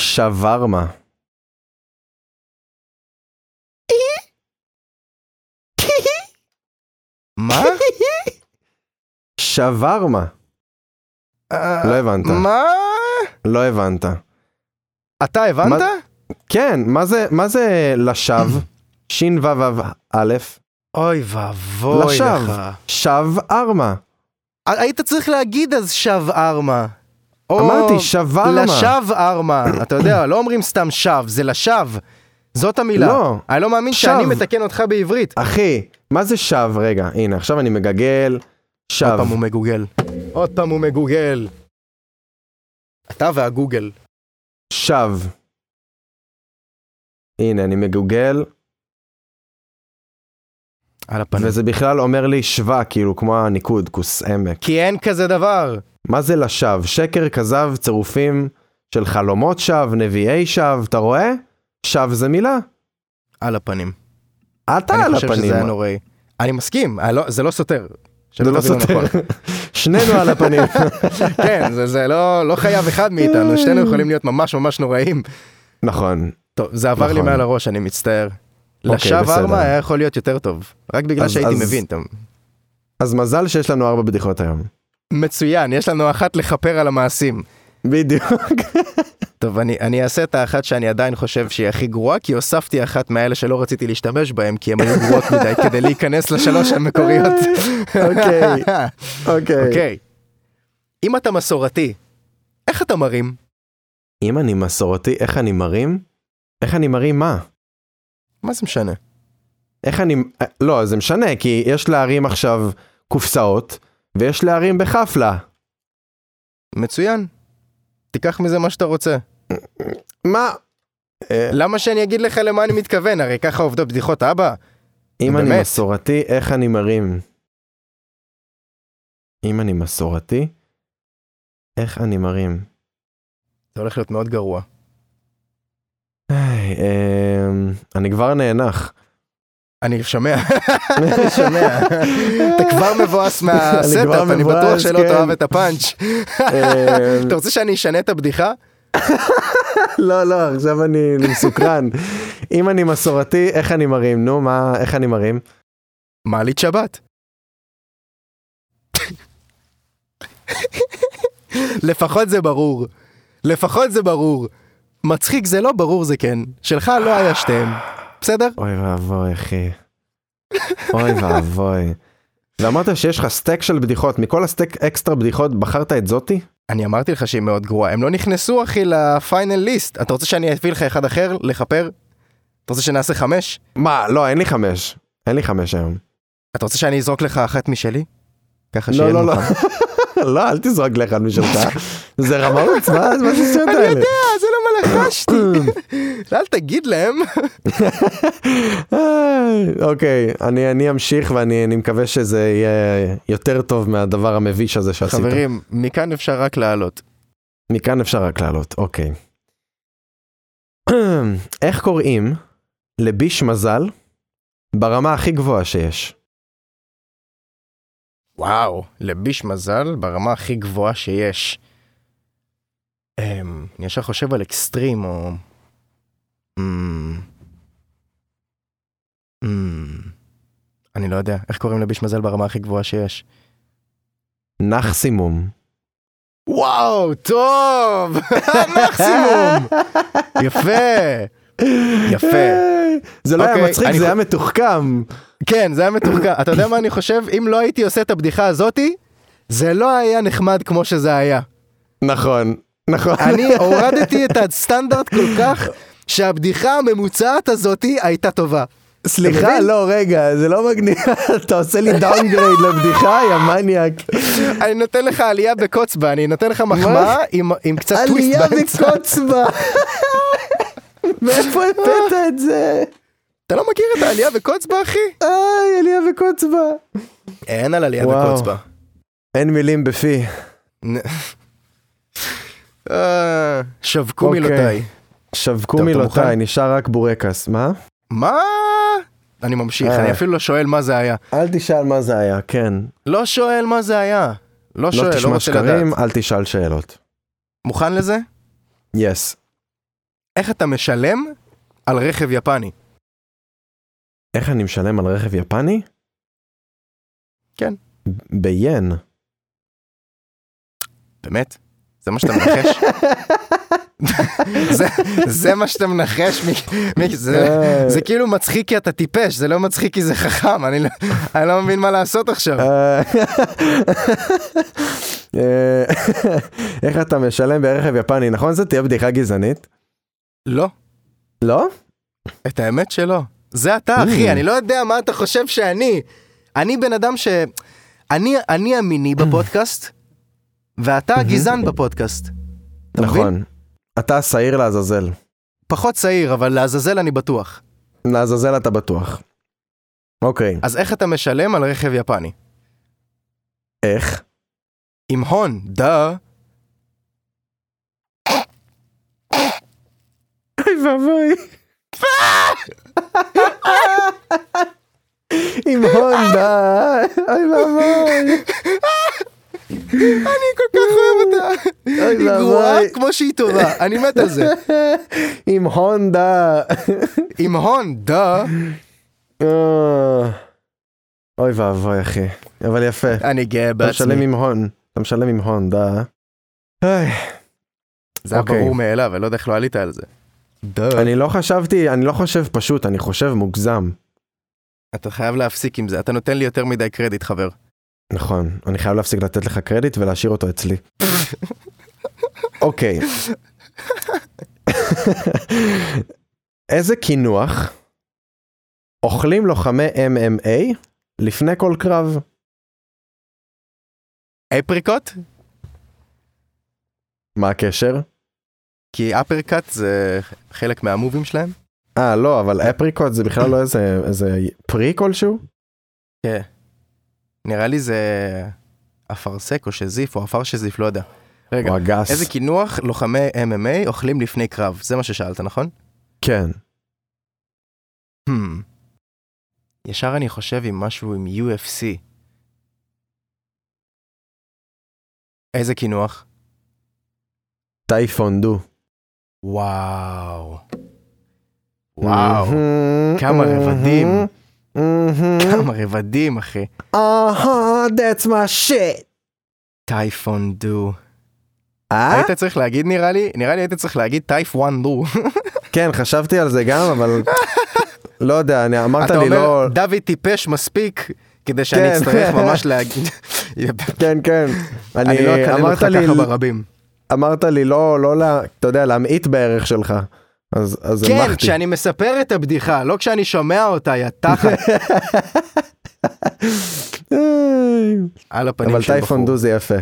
Speaker 1: שווארמה.
Speaker 2: מה?
Speaker 1: שווארמה.
Speaker 2: אה,
Speaker 1: לא הבנת.
Speaker 2: מה?
Speaker 1: לא הבנת.
Speaker 2: אתה הבנת?
Speaker 1: מה- כן, מה זה, מה זה לשווא? ש"ו א',
Speaker 2: אוי ואבוי
Speaker 1: לשווא.
Speaker 2: לך.
Speaker 1: שב ארמה.
Speaker 2: היית צריך להגיד אז שב ארמה. או
Speaker 1: אמרתי, שווארמה.
Speaker 2: לשב ארמה. אתה יודע, לא אומרים סתם שב, זה לשב. זאת המילה.
Speaker 1: לא.
Speaker 2: אני לא מאמין
Speaker 1: שב.
Speaker 2: שאני מתקן אותך בעברית.
Speaker 1: אחי, מה זה שב? רגע, הנה, עכשיו אני מגגל.
Speaker 2: עוד
Speaker 1: שב.
Speaker 2: פעם הוא מגוגל. עוד פעם הוא מגוגל. אתה והגוגל.
Speaker 1: שב. הנה, אני מגוגל,
Speaker 2: על הפנים.
Speaker 1: וזה בכלל אומר לי שווה, כאילו, כמו הניקוד, כוס עמק.
Speaker 2: כי אין כזה דבר.
Speaker 1: מה זה לשווא? שקר, כזב, צירופים של חלומות שווא, נביאי שווא, אתה רואה? שווא זה מילה.
Speaker 2: על הפנים.
Speaker 1: אתה
Speaker 2: אני
Speaker 1: על
Speaker 2: חושב שזה היה
Speaker 1: הפנים.
Speaker 2: נוראי. אני מסכים, אה, לא- זה לא סותר.
Speaker 1: זה
Speaker 2: שלא
Speaker 1: לא
Speaker 2: תבינו נכון.
Speaker 1: סותר. שנינו על הפנים.
Speaker 2: כן, זה- זה לא לא חייב אחד מאיתנו, שנינו יכולים להיות ממש ממש נוראים.
Speaker 1: נכון.
Speaker 2: טוב, זה עבר לי
Speaker 1: נכון.
Speaker 2: מעל הראש, אני מצטער.
Speaker 1: אוקיי,
Speaker 2: לשווא
Speaker 1: בסדר.
Speaker 2: ארמה היה יכול להיות יותר טוב, רק בגלל
Speaker 1: אז-
Speaker 2: שהייתי
Speaker 1: אז-
Speaker 2: מבין. אתה-
Speaker 1: אז מזל שיש לנו ארבע בדיחות היום.
Speaker 2: מצוין, יש לנו אחת לכפר על המעשים.
Speaker 1: בדיוק.
Speaker 2: טוב, אני, אני אעשה את האחת שאני עדיין חושב שהיא הכי גרועה, כי הוספתי אחת מאלה שלא רציתי להשתמש בהם, כי הן היו גרועות מדי כדי להיכנס לשלוש המקוריות.
Speaker 1: אוקיי, אוקיי.
Speaker 2: אוקיי. אם אתה מסורתי, איך אתה מרים?
Speaker 1: אם אני מסורתי, איך אני מרים? איך אני מרים מה?
Speaker 2: מה זה משנה?
Speaker 1: איך אני... אה, לא, זה משנה, כי יש להרים עכשיו קופסאות, ויש להרים בחפלה.
Speaker 2: מצוין. תיקח מזה מה שאתה רוצה.
Speaker 1: מה? אה,
Speaker 2: למה שאני אגיד לך למה אני מתכוון? הרי ככה עובדות בדיחות אבא.
Speaker 1: אם אני
Speaker 2: באמת?
Speaker 1: מסורתי, איך אני מרים? אם אני מסורתי, איך אני מרים?
Speaker 2: זה הולך להיות מאוד גרוע.
Speaker 1: איי, אמ, אני כבר נאנח.
Speaker 2: אני שומע, אני שומע. אתה כבר מבואס
Speaker 1: כבר
Speaker 2: מהסטאפ, אני
Speaker 1: מבואס,
Speaker 2: בטוח שלא
Speaker 1: כן.
Speaker 2: תאהב את הפאנץ'.
Speaker 1: אמ,
Speaker 2: אתה רוצה שאני אשנה את הבדיחה?
Speaker 1: לא, לא, עכשיו אני אני מסוקרן. אם אני מסורתי, איך אני מרים? נו, מה, איך אני מרים?
Speaker 2: מעלית שבת. לפחות זה ברור. לפחות זה ברור. מצחיק זה לא ברור זה כן. שלך לא היה שתיהם. בסדר?
Speaker 1: אוי ואבוי, אחי. אוי ואבוי. ואמרת שיש לך סטייק של בדיחות, מכל הסטייק אקסטרה בדיחות בחרת את זאתי?
Speaker 2: אני אמרתי לך שהיא מאוד גרועה. הם לא נכנסו אחי לפיינל ליסט. אתה רוצה שאני אביא לך אחד אחר? לכפר? אתה רוצה שנעשה חמש?
Speaker 1: מה, לא, אין לי חמש. אין לי חמש היום.
Speaker 2: אתה רוצה שאני אזרוק לך אחת משלי? ככה שיהיה
Speaker 1: לא, לא,
Speaker 2: לנו
Speaker 1: לא.
Speaker 2: חם.
Speaker 1: לא, אל תזרוק לאחד משלך. זה רמאות, מה מה זה שטויות
Speaker 2: אני
Speaker 1: האלה?
Speaker 2: יודע, זה למה לחשתי. אל תגיד להם.
Speaker 1: אה, אוקיי, אני אני אמשיך ואני אני מקווה שזה יהיה יותר טוב מהדבר המביש הזה שעשית.
Speaker 2: חברים, מכאן אפשר רק לעלות.
Speaker 1: מכאן אפשר רק לעלות, אוקיי. איך קוראים לביש מזל ברמה הכי גבוהה שיש?
Speaker 2: וואו, לביש מזל ברמה הכי גבוהה שיש. אמ, אני ישר חושב על אקסטרים או... אמ, אמ, אני לא יודע, איך קוראים לביש מזל ברמה הכי גבוהה שיש?
Speaker 1: נחסימום.
Speaker 2: וואו, טוב! מקסימום! יפה! יפה.
Speaker 1: זה לא היה
Speaker 2: אוקיי,
Speaker 1: מצחיק,
Speaker 2: אני
Speaker 1: זה
Speaker 2: חו-
Speaker 1: היה מתוחכם.
Speaker 2: כן, זה היה מתוחכם. אתה יודע מה אני חושב? אם לא הייתי עושה את הבדיחה הזאתי, זה לא היה נחמד כמו שזה היה.
Speaker 1: נכון, נכון.
Speaker 2: אני הורדתי את הסטנדרט כל כך, שהבדיחה הממוצעת הזאתי הייתה טובה. אתה
Speaker 1: סליחה,
Speaker 2: מבין?
Speaker 1: לא, רגע, זה לא מגניב, אתה עושה לי דאונגרייד לבדיחה, יא מניאק.
Speaker 2: אני נותן לך עלייה בקוצבה, אני נותן לך מחמאה עם- עם קצת טוויסט
Speaker 1: עלייה
Speaker 2: באמצע.
Speaker 1: וקוצבה. מאיפה הבאת את זה?
Speaker 2: אתה לא מכיר את העלייה בקוצבה, אחי?
Speaker 1: איי, אה, עלייה וקוצבה.
Speaker 2: אין על עלייה
Speaker 1: וואו.
Speaker 2: בקוצבה.
Speaker 1: אין מילים בפי.
Speaker 2: אה, שווקו
Speaker 1: אוקיי.
Speaker 2: מילותיי.
Speaker 1: שבקו
Speaker 2: טוב, אתה
Speaker 1: מילותיי,
Speaker 2: מוכן?
Speaker 1: נשאר רק בורקס, מה?
Speaker 2: מה? אני ממשיך,
Speaker 1: אה.
Speaker 2: אני אפילו לא שואל מה זה היה.
Speaker 1: אל תשאל מה זה היה, כן.
Speaker 2: לא שואל מה זה היה. לא
Speaker 1: לא
Speaker 2: שואל, לא
Speaker 1: תשמע
Speaker 2: רוצה לדעת.
Speaker 1: שקרים, אל תשאל שאלות.
Speaker 2: מוכן לזה?
Speaker 1: יס.
Speaker 2: איך אתה משלם על רכב יפני?
Speaker 1: איך אני משלם על רכב יפני?
Speaker 2: כן.
Speaker 1: ב- ביין.
Speaker 2: באמת? זה מה שאתה מנחש? זה- זה מה שאתה מנחש, מ- מ- זה- זה כאילו מצחיק כי אתה טיפש, זה לא מצחיק כי זה חכם, אני לא- אני לא מבין מה לעשות עכשיו.
Speaker 1: אה, אה, איך אתה משלם ברכב יפני, נכון? זה תהיה בדיחה גזענית.
Speaker 2: לא,
Speaker 1: לא?
Speaker 2: את האמת שלא. זה אתה, אחי, אני לא יודע מה אתה חושב שאני. אני בן אדם ש... אני, אני המיני בפודקאסט, ואתה הגזען בפודקאסט. אתה מבין?
Speaker 1: נכון. אתה שעיר לעזאזל.
Speaker 2: פחות צעיר, אבל לעזאזל אני בטוח.
Speaker 1: לעזאזל אתה בטוח. אוקיי,
Speaker 2: אז איך אתה משלם על רכב יפני?
Speaker 1: איך?
Speaker 2: עם הון, דה.
Speaker 1: אוי ואבוי. עם הונדה, אוי ואבוי.
Speaker 2: אני כל כך אוהב אותה. היא גרועה
Speaker 1: ואבוי.
Speaker 2: כמו שהיא טובה, אני מת על זה.
Speaker 1: עם הונדה.
Speaker 2: עם הון, דה.
Speaker 1: אה. אוי ואבוי אחי, אבל יפה.
Speaker 2: אני גאה
Speaker 1: אתה משלם
Speaker 2: בעצמי.
Speaker 1: עם הון, אתה משלם עם הונדה. איי,
Speaker 2: זה היה
Speaker 1: אוקיי.
Speaker 2: ברור מאליו, אני לא יודע איך לא עלית על זה. דה.
Speaker 1: אני לא חשבתי, אני לא חושב פשוט, אני חושב מוגזם.
Speaker 2: אתה חייב להפסיק עם זה, אתה נותן לי יותר מדי קרדיט, חבר.
Speaker 1: נכון, אני חייב להפסיק לתת לך קרדיט ולהשאיר אותו אצלי. אוקיי. איזה קינוח אוכלים לוחמי MMA לפני כל קרב?
Speaker 2: אפריקוט?
Speaker 1: מה הקשר?
Speaker 2: כי אפרקאט זה חלק מהמובים שלהם?
Speaker 1: אה, לא, אבל אפריקוט זה בכלל לא איזה, איזה פרי כלשהו?
Speaker 2: כן. נראה לי זה אפרסק או שזיף או עפר שזיף, לא יודע. רגע,
Speaker 1: או הגס?
Speaker 2: איזה קינוח לוחמי MMA אוכלים לפני קרב? זה מה ששאלת, נכון?
Speaker 1: כן.
Speaker 2: Hmm. ישר אני חושב עם משהו עם UFC. איזה קינוח?
Speaker 1: טייפונדו.
Speaker 2: וואו. וואו.
Speaker 1: מהמם,
Speaker 2: כמה רבדים.
Speaker 1: מהמם.
Speaker 2: כמה רבדים, אחי.
Speaker 1: אהה, that's my shit.
Speaker 2: טייפון דו.
Speaker 1: אה?
Speaker 2: היית צריך להגיד נראה לי, נראה לי היית צריך להגיד טייפואן דו.
Speaker 1: כן, חשבתי על זה גם, אבל... לא יודע, אני אמרת
Speaker 2: אתה
Speaker 1: לי לא...
Speaker 2: אומר, דוד טיפש מספיק כדי שאני
Speaker 1: כן.
Speaker 2: אצטרך ממש להגיד.
Speaker 1: כן, כן.
Speaker 2: אני לא
Speaker 1: אני...
Speaker 2: אקלל
Speaker 1: אמרת
Speaker 2: אותך
Speaker 1: לי...
Speaker 2: ככה ברבים.
Speaker 1: אמרת לי לא, לא, לה- אתה יודע, להמעיט בערך שלך. אז אז
Speaker 2: כן,
Speaker 1: המחתי.
Speaker 2: כשאני מספר את הבדיחה, לא כשאני שומע אותה, יא תחת.
Speaker 1: איי.
Speaker 2: על הפנים
Speaker 1: אה, אבל
Speaker 2: של בחור.
Speaker 1: טייפונדו זה יפה.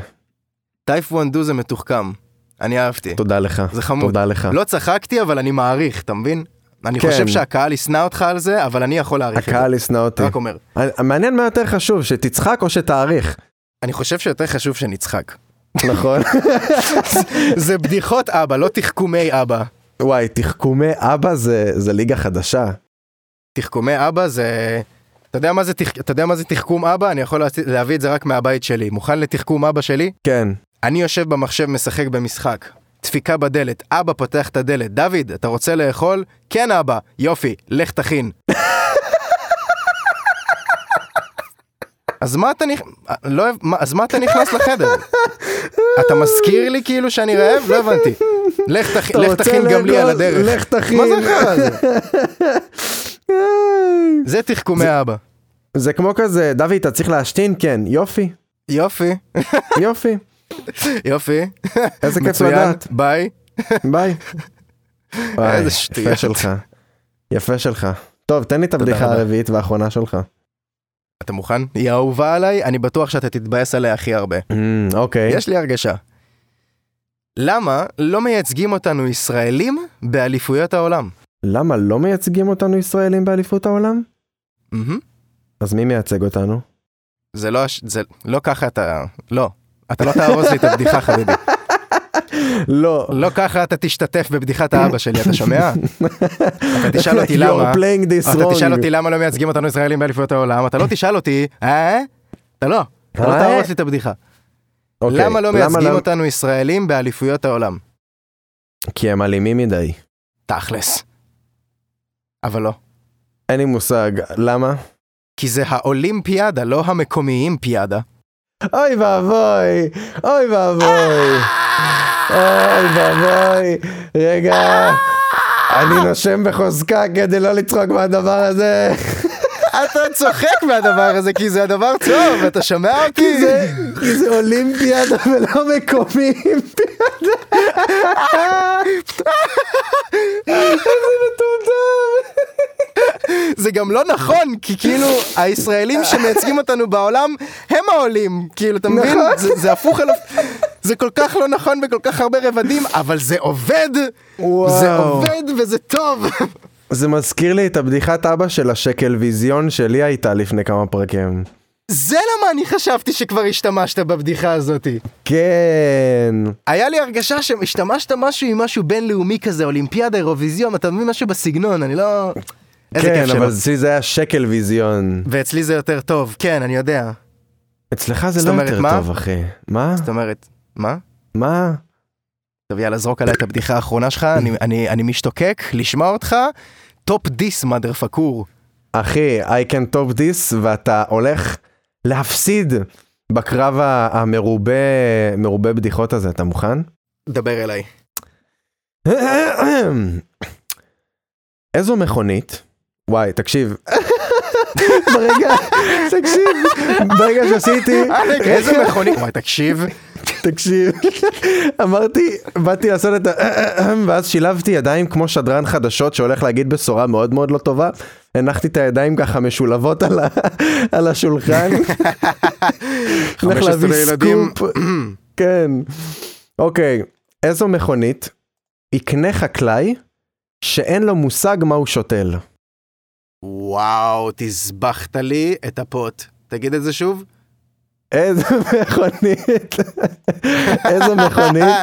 Speaker 2: טייפואן דו זה מתוחכם. אני אהבתי.
Speaker 1: תודה לך.
Speaker 2: זה חמוד.
Speaker 1: תודה לך.
Speaker 2: לא צחקתי, אבל אני מעריך, אתה מבין? אני
Speaker 1: כן.
Speaker 2: חושב שהקהל ישנא אותך על זה, אבל אני יכול להעריך את זה.
Speaker 1: הקהל ישנא אותי.
Speaker 2: לא- רק אומר.
Speaker 1: אני- מעניין מה יותר חשוב, שתצחק או שתעריך.
Speaker 2: אני חושב שיותר חשוב שנצחק.
Speaker 1: נכון.
Speaker 2: זה בדיחות אבא, לא תחכומי אבא.
Speaker 1: וואי, תחכומי אבא זה, זה ליגה חדשה.
Speaker 2: תחכומי אבא זה... אתה יודע מה זה, תח... אתה יודע מה זה תחכום אבא? אני יכול להצ- להביא את זה רק מהבית שלי. מוכן לתחכום אבא שלי?
Speaker 1: כן.
Speaker 2: אני יושב במחשב משחק במשחק. דפיקה בדלת, אבא פותח את הדלת, דוד, אתה רוצה לאכול? כן אבא, יופי, לך תכין. אז מה אתה נכ... לא... אוהב- מה- אז מה אתה נכנס לחדר? אתה מזכיר לי כאילו שאני רעב? לא הבנתי. לך תכ- לך תכין גם לי על הדרך.
Speaker 1: לך תכין.
Speaker 2: מה זה החרא הזה? זה תחכומי אבא.
Speaker 1: זה כמו כזה, דוד, אתה צריך להשתין? כן. יופי,
Speaker 2: יופי,
Speaker 1: יופי.
Speaker 2: יופי,
Speaker 1: איזה כיף
Speaker 2: מצוין,
Speaker 1: לדעת.
Speaker 2: ביי.
Speaker 1: ביי. וואי,
Speaker 2: איזה
Speaker 1: יפה
Speaker 2: שטויות.
Speaker 1: שלך. יפה שלך. טוב, תן לי את הבדיחה
Speaker 2: רבה.
Speaker 1: הרביעית והאחרונה שלך.
Speaker 2: אתה מוכן? היא אהובה עליי, אני בטוח שאתה תתבאס עליה הכי הרבה.
Speaker 1: אמ, אוקיי.
Speaker 2: יש לי הרגשה. למה לא מייצגים אותנו ישראלים באליפויות העולם?
Speaker 1: למה לא מייצגים אותנו ישראלים באליפות העולם?
Speaker 2: מהמם.
Speaker 1: אז מי מייצג אותנו?
Speaker 2: זה לא, הש- זה לא ככה אתה, לא. אתה לא תארוז לי את הבדיחה חביבי.
Speaker 1: לא.
Speaker 2: לא ככה אתה תשתתף בבדיחת האבא שלי, אתה שומע? אתה תשאל אותי למה.
Speaker 1: You're playing this
Speaker 2: אתה תשאל אותי
Speaker 1: wrong.
Speaker 2: למה לא מייצגים אותנו ישראלים באליפויות העולם, אתה לא תשאל אותי, אה? אתה לא. אתה לא
Speaker 1: אה?
Speaker 2: תהרוס לי את הבדיחה.
Speaker 1: אוקיי,
Speaker 2: למה לא מייצגים
Speaker 1: למה-
Speaker 2: אותנו ישראלים באליפויות העולם?
Speaker 1: כי הם אלימים מדי.
Speaker 2: תכלס. אבל לא.
Speaker 1: אין לי מושג. למה?
Speaker 2: כי זה האולימפיאדה, לא המקומיים פיאדה.
Speaker 1: אוי ואבוי, אוי ואבוי. אוי ואבוי, רגע, אני נושם בחוזקה כדי לא לצחוק מהדבר הזה.
Speaker 2: אתה צוחק מהדבר הזה כי זה הדבר טוב, אתה שומע אותי?
Speaker 1: כי זה- כי זה אולימפיאדה ולא מקומי אימפיאדה. איזה מטומטם.
Speaker 2: זה גם לא נכון, כי כאילו הישראלים שמייצגים אותנו בעולם הם העולים, כאילו אתה מבין?
Speaker 1: נכון.
Speaker 2: זה זה הפוך על... הפ- זה כל כך לא נכון בכל כך הרבה רבדים, אבל זה עובד!
Speaker 1: וואו.
Speaker 2: זה עובד וזה טוב!
Speaker 1: זה מזכיר לי את הבדיחת אבא של השקל ויזיון שלי הייתה לפני כמה פרקים.
Speaker 2: זה למה אני חשבתי שכבר השתמשת בבדיחה הזאתי.
Speaker 1: כן.
Speaker 2: היה לי הרגשה שהשתמשת משהו עם משהו בינלאומי כזה, אולימפיאדה, אירוויזיון, אתה מבין משהו בסגנון, אני לא... איזה
Speaker 1: כן,
Speaker 2: כיף שלא.
Speaker 1: אבל אצלי זה היה שקל ויזיון.
Speaker 2: ואצלי זה יותר טוב, כן, אני יודע.
Speaker 1: אצלך זה
Speaker 2: זאת
Speaker 1: לא
Speaker 2: אומרת,
Speaker 1: יותר
Speaker 2: מה?
Speaker 1: טוב, אחי. מה?
Speaker 2: זאת אומרת, מה?
Speaker 1: מה?
Speaker 2: טוב, יאללה, זרוק עליי את הבדיחה האחרונה שלך, אני, אני, אני משתוקק לשמוע אותך. טופ דיס, מאדר פקור.
Speaker 1: אחי, I can top this, ואתה הולך להפסיד בקרב ה- המרובה מרובה בדיחות הזה, אתה מוכן?
Speaker 2: דבר אליי.
Speaker 1: איזו מכונית? וואי, תקשיב. ברגע, תקשיב, ברגע שעשיתי,
Speaker 2: איזה
Speaker 1: כן.
Speaker 2: מכונית, וואי, תקשיב.
Speaker 1: תקשיב, אמרתי, באתי לעשות את ה... ואז שילבתי ידיים כמו שדרן חדשות שהולך להגיד בשורה מאוד מאוד לא טובה. הנחתי את הידיים ככה משולבות על, ה... על השולחן. הולך
Speaker 2: 15
Speaker 1: להביא
Speaker 2: ילדים.
Speaker 1: סקופ. כן. אוקיי, איזו מכונית יקנה חקלאי שאין לו מושג מה הוא שותל?
Speaker 2: וואו, תסבכת לי את הפוט. תגיד את זה שוב.
Speaker 1: איזו מכונית, איזו מכונית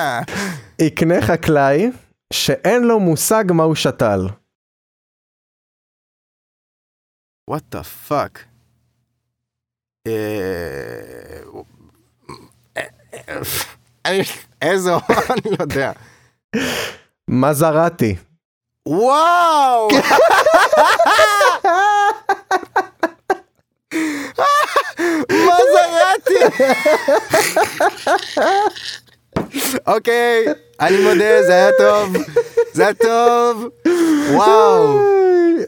Speaker 1: יקנה חקלאי שאין לו מושג מה הוא שתל.
Speaker 2: וואט דה פאק. אה, איזה אני לא יודע.
Speaker 1: מזרטי.
Speaker 2: וואו! מזרטי! אוקיי, אני מודה, זה היה טוב. זה היה טוב. וואו.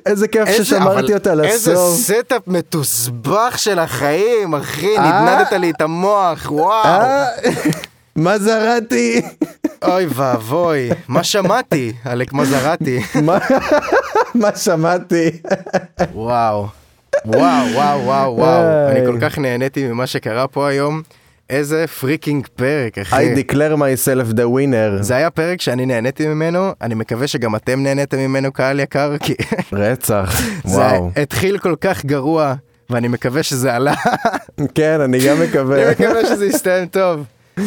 Speaker 1: איזה כיף
Speaker 2: איזה-
Speaker 1: ששמרתי
Speaker 2: אבל
Speaker 1: אותה
Speaker 2: איזה
Speaker 1: לסוף.
Speaker 2: סטאפ מתוסבך של החיים, אחי,
Speaker 1: אה?
Speaker 2: נדנדת לי את המוח, וואו.
Speaker 1: אה, מזרטי.
Speaker 2: אוי ואבוי, מה שמעתי, עלק מזרטי.
Speaker 1: מה- מה שמעתי?
Speaker 2: וואו, וואו, וואו, וואו, וואו.
Speaker 1: איי.
Speaker 2: אני כל כך נהניתי ממה שקרה פה היום. איזה פריקינג פרק, אחי.
Speaker 1: I declare myself the winner.
Speaker 2: זה היה פרק שאני נהניתי ממנו, אני מקווה שגם אתם נהניתם ממנו, קהל יקר, כי
Speaker 1: רצח. וואו.
Speaker 2: זה התחיל כל כך גרוע, ואני מקווה שזה עלה,
Speaker 1: כן, אני גם
Speaker 2: אני
Speaker 1: מקווה.
Speaker 2: מקווה שזה יסתיים טוב.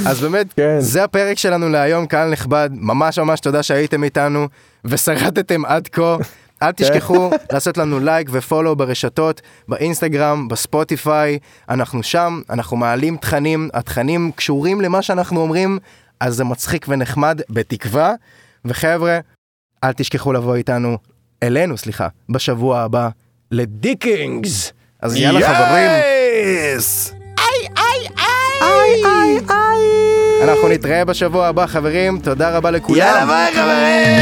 Speaker 2: אז באמת,
Speaker 1: כן.
Speaker 2: זה הפרק שלנו להיום, קהל נכבד, ממש ממש תודה שהייתם איתנו, ושרדתם עד כה. אל תשכחו לעשות לנו לייק ופולו ברשתות, באינסטגרם, בספוטיפיי, אנחנו שם, אנחנו מעלים תכנים, התכנים קשורים למה שאנחנו אומרים, אז זה מצחיק ונחמד, בתקווה. וחבר'ה, אל תשכחו לבוא איתנו, אלינו, סליחה, בשבוע הבא, לדיקינגס. אז יאללה חברים. אנחנו נתראה בשבוע הבא, חברים. תודה רבה לכולם. יאללה, ביי, חברים!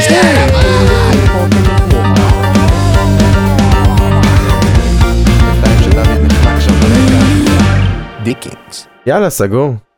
Speaker 2: דיקינגס.
Speaker 1: יאללה, סגור.